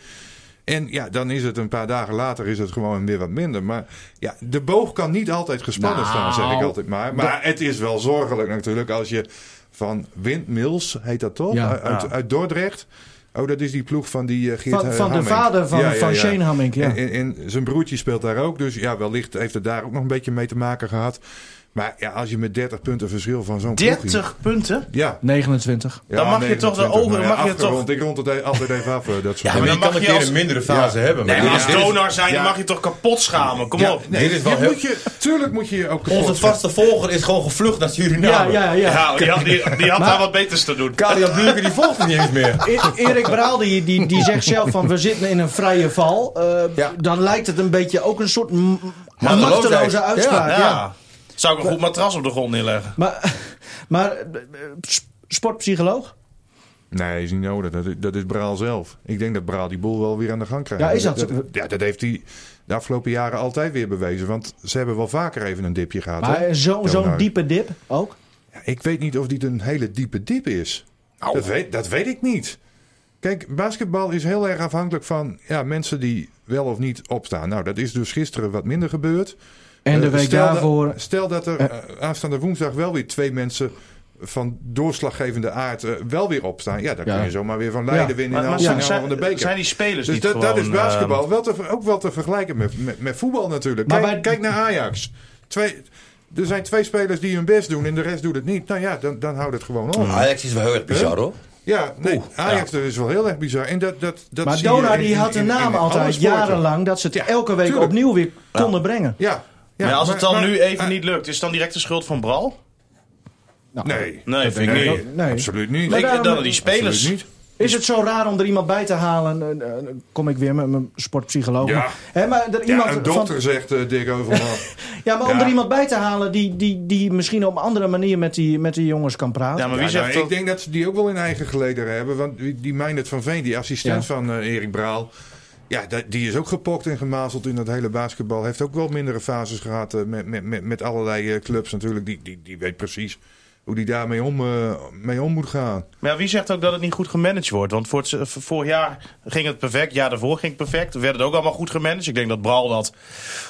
Speaker 4: En ja, dan is het een paar dagen later is het gewoon weer wat minder. Maar ja, de boog kan niet altijd gespannen
Speaker 2: Nou,
Speaker 4: staan, zeg ik altijd maar. Maar het is wel zorgelijk natuurlijk als je van Windmills, heet dat toch?
Speaker 2: Ja.
Speaker 4: Uit, uit Dordrecht. Oh, dat is die ploeg van die eh, Geert
Speaker 2: Van-
Speaker 4: eh,
Speaker 2: van de
Speaker 4: Hamming.
Speaker 2: vader van- van Shane Hamming, ja.
Speaker 4: En, en, en zijn broertje speelt daar ook. Dus ja, wellicht heeft het daar ook nog een beetje mee te maken gehad. Maar ja, als je met 30 punten verschil van zo'n ploegje-
Speaker 3: 30 punten?
Speaker 4: Ja.
Speaker 2: 29.
Speaker 4: Ja,
Speaker 3: Dan mag je toch de
Speaker 4: 29,
Speaker 3: ogen-
Speaker 4: maar
Speaker 3: mag je
Speaker 4: afgerond. Ik rond het e- altijd even af, eh, dat soort
Speaker 6: Ja, maar
Speaker 4: dingen.
Speaker 6: je
Speaker 3: dan
Speaker 6: kan
Speaker 3: mag
Speaker 6: een
Speaker 3: je
Speaker 6: keer
Speaker 3: als-
Speaker 6: een mindere fase hebben.
Speaker 3: Nee, maar
Speaker 6: dit
Speaker 3: als
Speaker 6: is- dit is-
Speaker 3: donar zijn, dan
Speaker 4: ja.
Speaker 3: mag je toch kapot schamen? Kom
Speaker 4: Ja,
Speaker 3: op.
Speaker 4: nee,
Speaker 6: Dit is wel
Speaker 4: je
Speaker 6: heel-
Speaker 4: moet je, tuurlijk moet je je ook kapot
Speaker 6: Onze vaste volger is gewoon gevlucht naar
Speaker 2: Ja,
Speaker 6: Suriname.
Speaker 2: ja, ja.
Speaker 3: Ja, die had, die, die had daar wat beters te doen.
Speaker 6: Kalian Buurken die volgt hem niet eens meer.
Speaker 2: E- Erik Braal die, die, die zegt zelf van we zitten in een vrije val. Eh,
Speaker 6: Ja.
Speaker 2: Dan lijkt het een beetje ook een soort m-
Speaker 6: Machteloosheid.
Speaker 2: machteloze uitspraak.
Speaker 3: Ja.
Speaker 2: Ja,
Speaker 3: Zou ik een goed matras op de grond neerleggen?
Speaker 2: Maar, maar eh, s- sportpsycholoog?
Speaker 4: Nee, is niet nodig. Dat is, dat is Braal zelf. Ik denk dat Braal die boel wel weer aan de gang krijgt.
Speaker 2: Ja, is dat zo?
Speaker 4: ja, dat heeft hij de afgelopen jaren altijd weer bewezen. Want ze hebben wel vaker even een dipje gehad.
Speaker 2: Maar
Speaker 4: hè?
Speaker 2: eh, zo- zo'n
Speaker 4: Donar.
Speaker 2: diepe dip ook?
Speaker 4: Ja, ik weet niet of dit een hele diepe dip is.
Speaker 3: Nou,
Speaker 4: Dat weet, dat weet ik niet. Kijk, basketbal is heel erg afhankelijk van ja, mensen die wel of niet opstaan. Nou, dat is dus gisteren wat minder gebeurd.
Speaker 2: En de
Speaker 4: Eh,
Speaker 2: week
Speaker 4: stel dat-
Speaker 2: daarvoor.
Speaker 4: stel dat er eh, aanstaande woensdag wel weer twee mensen van doorslaggevende aard eh, wel weer opstaan. Ja, dan
Speaker 2: Ja.
Speaker 4: kun je zomaar weer van Leiden
Speaker 2: Ja.
Speaker 4: winnen
Speaker 3: Maar-
Speaker 4: in de
Speaker 3: maar
Speaker 4: halve
Speaker 3: zijn-
Speaker 4: finale van de beker.
Speaker 3: zijn die spelers
Speaker 4: dus
Speaker 3: niet
Speaker 4: dat, dat
Speaker 3: gewoon,
Speaker 4: is basketbal wel te, ver- ook wel te vergelijken met, met, met voetbal natuurlijk. Kijk,
Speaker 2: bij-
Speaker 4: kijk naar Ajax. Twee, er
Speaker 6: Hmm.
Speaker 4: zijn twee spelers die hun best doen en de rest doet het niet. Nou ja, dan, dan houdt het gewoon op.
Speaker 6: Ajax is wel heel erg bizar hoor.
Speaker 4: Ja, nee, Ajax dat is wel heel erg bizar. En dat, dat, dat
Speaker 2: Maar
Speaker 4: zie je
Speaker 2: Dona
Speaker 4: in-
Speaker 2: die
Speaker 4: in-
Speaker 2: had de
Speaker 4: in- in
Speaker 2: naam
Speaker 4: alle
Speaker 2: altijd
Speaker 4: sporten.
Speaker 2: jarenlang dat ze het elke week
Speaker 4: tuurlijk.
Speaker 2: opnieuw weer konden brengen.
Speaker 4: Ja. ja,
Speaker 3: maar als het dan
Speaker 4: maar-
Speaker 3: nu even
Speaker 4: maar-
Speaker 3: niet lukt, is het dan direct de schuld van Bral?
Speaker 4: Nee,
Speaker 3: Nee, vind ik
Speaker 4: nee,
Speaker 3: niet.
Speaker 2: Nee.
Speaker 4: absoluut niet.
Speaker 3: Ik denk dat
Speaker 2: daarom-
Speaker 3: die spelers...
Speaker 4: Absoluut niet.
Speaker 2: Is het zo raar om er iemand bij te halen? Eh, eh, Dan kom ik weer met mijn sportpsycholoog.
Speaker 4: Ja.
Speaker 2: Maar, hè, maar er
Speaker 4: Ja, een
Speaker 2: iemand van-
Speaker 4: dokter zegt eh, Dick Overman.
Speaker 2: ja, maar om
Speaker 4: Ja.
Speaker 2: er iemand bij te halen die, die, die misschien op een andere manier met die, met die jongens kan praten.
Speaker 3: Ja, maar wie
Speaker 4: Ja, nou,
Speaker 3: zegt dat?
Speaker 4: ik denk dat ze die ook wel in eigen gelederen hebben. Want die- die Meijnert van Veen, die assistent van eh, Erik Braal. Ja, dat- die is ook gepokt en gemazeld in dat hele basketbal. Heeft ook wel mindere fases gehad eh, met, met, met, met allerlei eh, clubs natuurlijk. Die, die, die weet precies hoe die daarmee om, eh, mee om moet gaan.
Speaker 3: Maar ja, wie zegt ook dat het niet goed gemanaged wordt? Want voor het- voor vorig jaar ging het perfect, jaar daarvoor ging het perfect. Werd het ook allemaal goed gemanaged. Ik denk dat Bral dat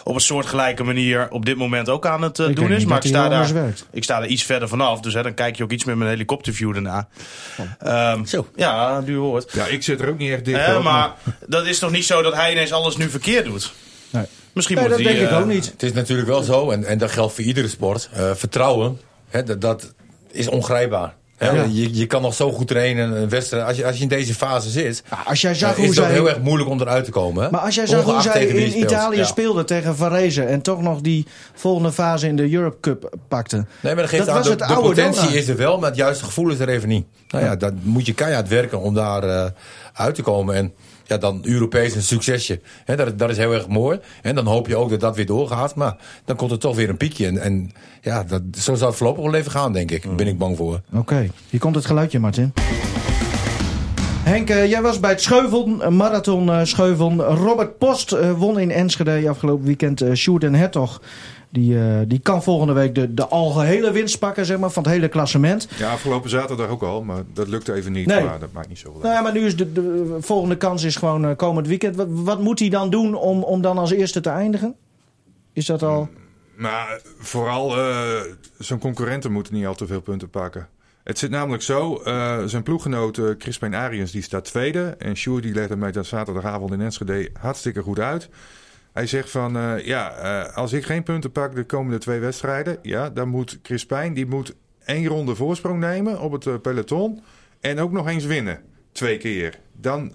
Speaker 3: op een soortgelijke manier op dit moment ook aan het eh,
Speaker 2: Ik denk
Speaker 3: doen is.
Speaker 2: niet
Speaker 3: Maar
Speaker 2: dat
Speaker 3: ik
Speaker 2: hij
Speaker 3: sta,
Speaker 2: heel
Speaker 3: daar,
Speaker 2: anders werkt.
Speaker 3: ik sta daar iets verder vanaf. Dus hè, dan kijk je ook iets met mijn helikopterview daarna.
Speaker 2: Oh.
Speaker 3: Ehm,
Speaker 6: Zo.
Speaker 3: Ja, duur woord.
Speaker 4: Ja, ik zit er ook niet echt dicht
Speaker 3: Hè,
Speaker 4: op,
Speaker 3: maar dat is toch niet zo dat hij ineens alles nu verkeerd doet?
Speaker 2: Nee.
Speaker 3: Misschien
Speaker 2: Nee,
Speaker 3: moet
Speaker 2: dat
Speaker 3: hij...
Speaker 2: denk ik
Speaker 3: eh,
Speaker 2: ook niet.
Speaker 6: Het is natuurlijk wel zo, en, en dat geldt voor iedere sport. eh, vertrouwen, hè, dat, dat is ongrijpbaar. Hè, je, je kan nog zo goed trainen, een wedstrijd. Als je, als je in deze fase zit,
Speaker 2: Ja, als jij
Speaker 6: dan
Speaker 2: zag hoe
Speaker 6: is dat
Speaker 2: zij,
Speaker 6: heel erg moeilijk om eruit te komen. Hè?
Speaker 2: maar als jij zag hoe
Speaker 6: Ongeacht
Speaker 2: zij
Speaker 6: tegen wie je
Speaker 2: in
Speaker 6: speelt.
Speaker 2: Italië
Speaker 6: Ja.
Speaker 2: speelde tegen Varese en toch nog die volgende fase in de Europe Cup pakte.
Speaker 6: Nee, maar dat geeft
Speaker 2: Dat
Speaker 6: aan,
Speaker 2: was
Speaker 6: de,
Speaker 2: het
Speaker 6: de
Speaker 2: oude
Speaker 6: potentie
Speaker 2: Dona.
Speaker 6: is er wel, maar het juiste gevoel is er even niet. Nou ja, dan moet je keihard werken om daar eh, uit te komen. En ja, dan Europees een succesje. Hè, dat, dat is heel erg mooi. En dan hoop je ook dat dat weer doorgaat. Maar dan komt er toch weer een piekje. En, en ja, dat, zo zou het voorlopig wel even gaan, denk ik. Daar ben ik bang voor.
Speaker 2: Oké, hier komt het geluidje, Martin. Henk, eh, jij was bij het Scheuveln, eh, marathon eh, Scheuveln. Robert Post eh, won in Enschede afgelopen weekend eh Sjoerd en Hertog. Die, eh, die kan volgende week de, de algehele winst pakken zeg maar, van het hele klassement.
Speaker 4: Ja, afgelopen zaterdag ook al, maar dat lukte even niet.
Speaker 2: Nee.
Speaker 4: Maar dat maakt niet zo
Speaker 2: Nou ja, maar nu is de, de volgende kans is gewoon eh, komend weekend. Wat, wat moet hij dan doen om, om dan als eerste te eindigen? Is dat al...
Speaker 4: Maar Nou, vooral, eh, zijn concurrenten moeten niet al te veel punten pakken. Het zit namelijk zo, eh, zijn ploeggenoot eh, Crispijn Ariens die staat tweede. En Sjoerd die legde mij dat zaterdagavond in Enschede hartstikke goed uit. Hij zegt van, eh, ja, eh, als ik geen punten pak de komende twee wedstrijden... ja, dan moet Crispijn, die moet één ronde voorsprong nemen op het eh, peloton... en ook nog eens winnen, twee keer. Dan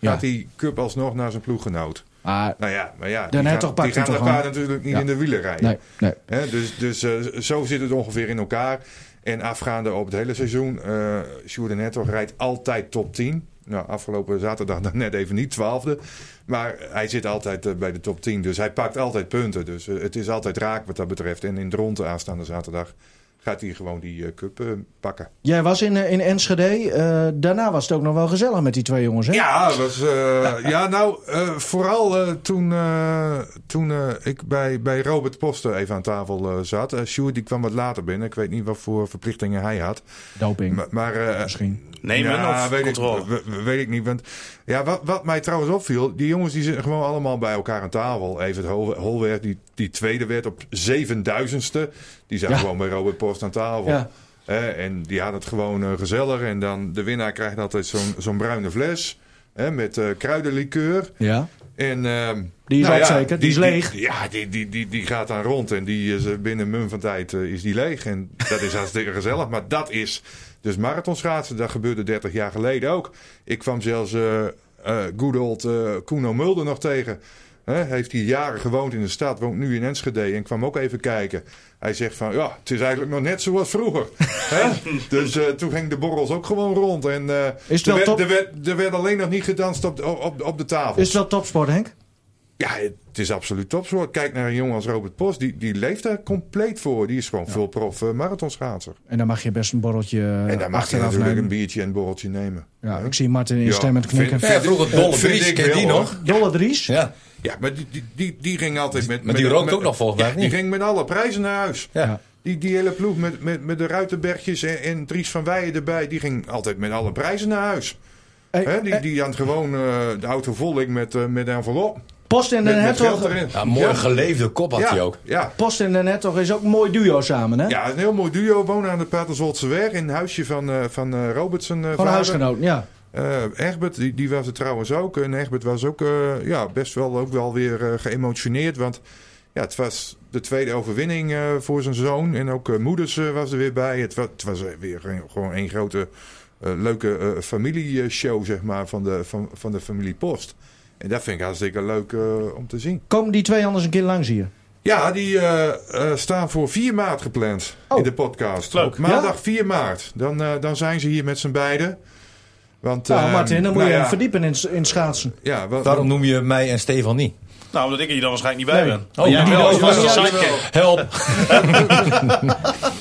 Speaker 4: gaat die cup alsnog naar zijn ploeggenoot.
Speaker 2: Maar
Speaker 4: Nou ja, maar ja,
Speaker 2: Dan
Speaker 4: die
Speaker 2: heeft
Speaker 4: gaan,
Speaker 2: toch Bart
Speaker 4: die gaan
Speaker 2: hem toch
Speaker 4: elkaar
Speaker 2: gewoon-
Speaker 4: natuurlijk niet
Speaker 2: Ja.
Speaker 4: in de wielen rijden.
Speaker 2: nee, nee.
Speaker 4: Hè, dus dus eh, zo zit het ongeveer in elkaar. En afgaande op het hele seizoen, eh Sjoerd en Hertog rijdt altijd top 10. Nou, afgelopen zaterdag dan net even niet, twaalfde. Maar hij zit altijd eh, bij de top 10, dus hij pakt altijd punten. Dus eh, het is altijd raak wat dat betreft. En in de ronde aanstaande zaterdag gaat hij gewoon die eh, cup eh, pakken.
Speaker 2: Jij was in, eh, in Enschede. eh, daarna was het ook nog wel gezellig met die twee jongens, hè?
Speaker 4: Ja, het was, eh, ja nou, eh, vooral eh, toen, eh, toen eh, ik bij, bij Robert Poster even aan tafel eh, zat. Eh Sjoerd die kwam wat later binnen. Ik weet niet wat voor verplichtingen hij had.
Speaker 2: Doping,
Speaker 4: Maar, maar eh,
Speaker 2: misschien.
Speaker 3: Nemen
Speaker 4: ja,
Speaker 3: of
Speaker 4: weet
Speaker 3: controle?
Speaker 4: Ik, we- we- weet ik niet. Want ja, wat, wat mij trouwens opviel, die jongens die zitten gewoon allemaal bij elkaar aan tafel. Even het Holweg, die, die tweede werd op 7000ste. Die zat
Speaker 2: Ja.
Speaker 4: gewoon bij Robert Post aan tafel.
Speaker 2: Ja.
Speaker 4: Eh, en die had het gewoon eh, gezellig. En dan de winnaar krijgt altijd zo'n zo'n bruine fles. hè, met eh kruidenlikeur.
Speaker 2: Ja.
Speaker 4: En, ehm,
Speaker 2: Die is op zeker, die is leeg.
Speaker 4: die- ja, die, die, die, die gaat dan rond en die is eh, binnen mum van tijd eh, is die leeg. En dat is hartstikke gezellig. Maar dat is dus marathonschaatsen. Dat gebeurde 30 jaar geleden ook. Ik kwam zelfs eh eh good old eh, Kuno Mulder nog tegen. Hè, heeft hij jaren gewoond in de stad, woont nu in Enschede en kwam ook even kijken. Hij zegt van, ja, het is eigenlijk nog net zoals vroeger. Hè? Dus eh, toen gingen de borrels ook gewoon rond. En, eh,
Speaker 2: Is het wel
Speaker 4: er, werd,
Speaker 2: top?
Speaker 4: er, werd, er werd alleen nog niet gedanst op de, op, op de tafel.
Speaker 2: Is het wel topsport, Henk?
Speaker 4: Ja, het is absoluut topsoort. Kijk naar een jongen als Robert Post. Die, die leeft daar compleet voor. Die is gewoon veel prof eh, marathonschaatser.
Speaker 2: En dan mag je best een borreltje eh,
Speaker 4: En daar mag je
Speaker 2: achteraf
Speaker 4: natuurlijk
Speaker 2: nemen.
Speaker 4: een biertje en een borreltje nemen.
Speaker 2: Ja, ik zie Martin in
Speaker 4: Ja,
Speaker 2: stemmend knikken.
Speaker 4: vind-
Speaker 6: Ja, vroeger Dolle
Speaker 4: vind
Speaker 6: Vries,
Speaker 4: ik
Speaker 6: ken je die
Speaker 4: wel,
Speaker 6: nog?
Speaker 4: hoor.
Speaker 2: Dolle Dries?
Speaker 6: Ja,
Speaker 4: Ja, maar die, die, die, die ging altijd met...
Speaker 6: maar die
Speaker 4: met-
Speaker 6: rookt
Speaker 4: met-
Speaker 6: ook nog volgens mij,
Speaker 4: Ja,
Speaker 6: niet?
Speaker 4: Die ging met alle prijzen naar huis.
Speaker 6: ja.
Speaker 4: Die, die hele ploeg met, met, met de Ruitenbergjes en, en Dries van Weijen erbij. Die ging altijd met alle prijzen naar huis.
Speaker 2: Hey,
Speaker 4: Hè, die,
Speaker 2: eh,
Speaker 4: die had gewoon eh, de auto vol ik met, eh, met een envelop.
Speaker 2: Post en Den
Speaker 4: Met, met geld
Speaker 2: Hertog.
Speaker 4: erin.
Speaker 6: Ja, mooi geleefde kop had hij
Speaker 4: ja,
Speaker 6: ook.
Speaker 4: ja.
Speaker 2: Post en Den Hertog is ook een mooi duo samen, hè?
Speaker 4: Ja, een heel mooi duo. Wonen aan de Paterswoldseweg in het huisje van, eh van eh Robertson. eh,
Speaker 2: Gewoon
Speaker 4: vader.
Speaker 2: huisgenoot, ja.
Speaker 4: Eh, Egbert, die, die was er trouwens ook. En Egbert was ook eh, ja, best wel, ook wel weer eh, geëmotioneerd. Want ja, het was de tweede overwinning eh, voor zijn zoon. En ook eh, moeders eh, was er weer bij. Het was, het was eh, weer een- gewoon één grote eh, leuke eh, familieshow zeg maar, van, de, van, van de familie Post. En dat vind ik hartstikke leuk eh, om te zien.
Speaker 2: Komen die twee anders een keer langs hier?
Speaker 4: Ja, die eh, eh, staan voor 4 maart gepland
Speaker 2: Oh.
Speaker 4: in de podcast.
Speaker 3: Leuk.
Speaker 4: Op maandag 4 maart. Dan, eh, dan zijn ze hier met z'n beiden. Want,
Speaker 2: Nou,
Speaker 4: eh,
Speaker 2: Martin, dan moet
Speaker 4: nou
Speaker 2: je
Speaker 4: ja,
Speaker 2: hem verdiepen in, s- in schaatsen.
Speaker 4: Ja, wa-
Speaker 6: Daarom noem je mij en Stefan niet.
Speaker 3: Nou, omdat ik er hier dan waarschijnlijk niet bij
Speaker 2: Nee.
Speaker 3: ben. Maar jij
Speaker 6: die
Speaker 3: wel,
Speaker 6: wel.
Speaker 3: als vaste
Speaker 4: Ja, die
Speaker 3: sidekick.
Speaker 6: Help!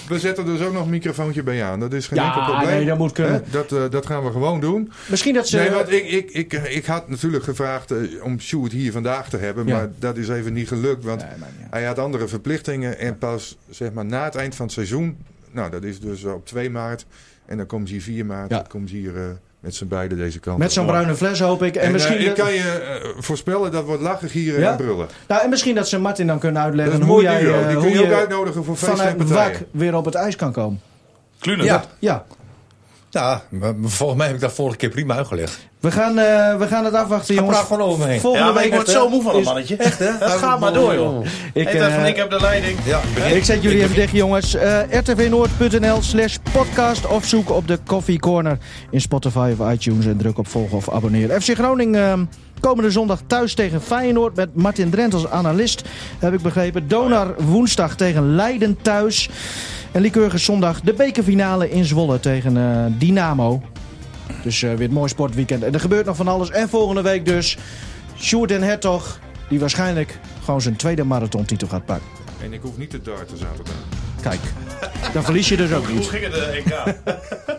Speaker 4: we zetten dus ook nog een microfoontje bij je aan. Dat is geen
Speaker 2: Ja,
Speaker 4: enkel probleem.
Speaker 2: nee, dat moet kunnen.
Speaker 4: Hè? Dat, eh, dat gaan we gewoon doen.
Speaker 2: Misschien dat ze...
Speaker 4: Nee, want ik, ik, ik, eh, ik had natuurlijk gevraagd eh, om Sjoerd hier vandaag te hebben.
Speaker 2: Ja.
Speaker 4: Maar dat is even niet gelukt. Want
Speaker 2: Nee, maakt niet uit.
Speaker 4: hij had andere verplichtingen. En pas zeg maar, na het eind van het seizoen. Nou, dat is dus op 2 maart. En dan komen ze hier 4 maart.
Speaker 2: Ja.
Speaker 4: Dan komen ze hier eh, met z'n beiden deze kant.
Speaker 2: Met zo'n
Speaker 4: op.
Speaker 2: bruine fles hoop ik. En,
Speaker 4: En, eh,
Speaker 2: misschien
Speaker 4: ik
Speaker 2: dat,
Speaker 4: kan je eh, voorspellen dat wordt lachen, gieren
Speaker 2: Ja?
Speaker 4: en brullen.
Speaker 2: nou, en misschien dat ze Martin dan kunnen
Speaker 4: Dat is
Speaker 2: uitleggen
Speaker 4: een
Speaker 2: hoe
Speaker 4: mooi
Speaker 2: jij
Speaker 4: duo.
Speaker 2: eh,
Speaker 4: Die kun
Speaker 2: hoe
Speaker 4: je ook uitnodigen voor feesten en
Speaker 2: vanuit
Speaker 4: partijen.
Speaker 2: WAC weer op het ijs kan komen.
Speaker 3: Klunen.
Speaker 6: Ja,
Speaker 2: Ja,
Speaker 6: ja maar volgens mij heb ik dat vorige keer prima uitgelegd.
Speaker 2: we gaan, eh, we gaan het afwachten, jongens.
Speaker 6: praat gewoon over me heen.
Speaker 2: Volgende
Speaker 3: Ja, maar
Speaker 2: week
Speaker 3: ik word
Speaker 2: is-
Speaker 3: zo moe van dat mannetje. Echt, hè? Het gaat maar door, joh.
Speaker 2: Ik,
Speaker 3: Ik, van,
Speaker 2: eh,
Speaker 3: ik heb de leiding.
Speaker 6: Ja, ik ben
Speaker 2: Ik zet jullie even dicht, jongens. Eh, rtvnoord.nl slash podcast of zoek op de Coffee Corner in Spotify of iTunes en druk op volgen of abonneren. FC Groningen ehm, komende zondag thuis tegen Feyenoord met Martin Drent als analist, heb ik begrepen. Donar woensdag tegen Leiden thuis. En Lycurgus zondag de bekerfinale in Zwolle tegen eh, Dynamo. Dus eh, weer een mooi sportweekend. En er gebeurt nog van alles. En volgende week dus Sjoerd en Hertog, die waarschijnlijk gewoon zijn tweede marathontitel gaat pakken.
Speaker 4: En ik hoef niet te darten zaterdag.
Speaker 2: Kijk, dan verlies je dus ook
Speaker 3: Hoe
Speaker 2: niet.
Speaker 3: ging het de EK?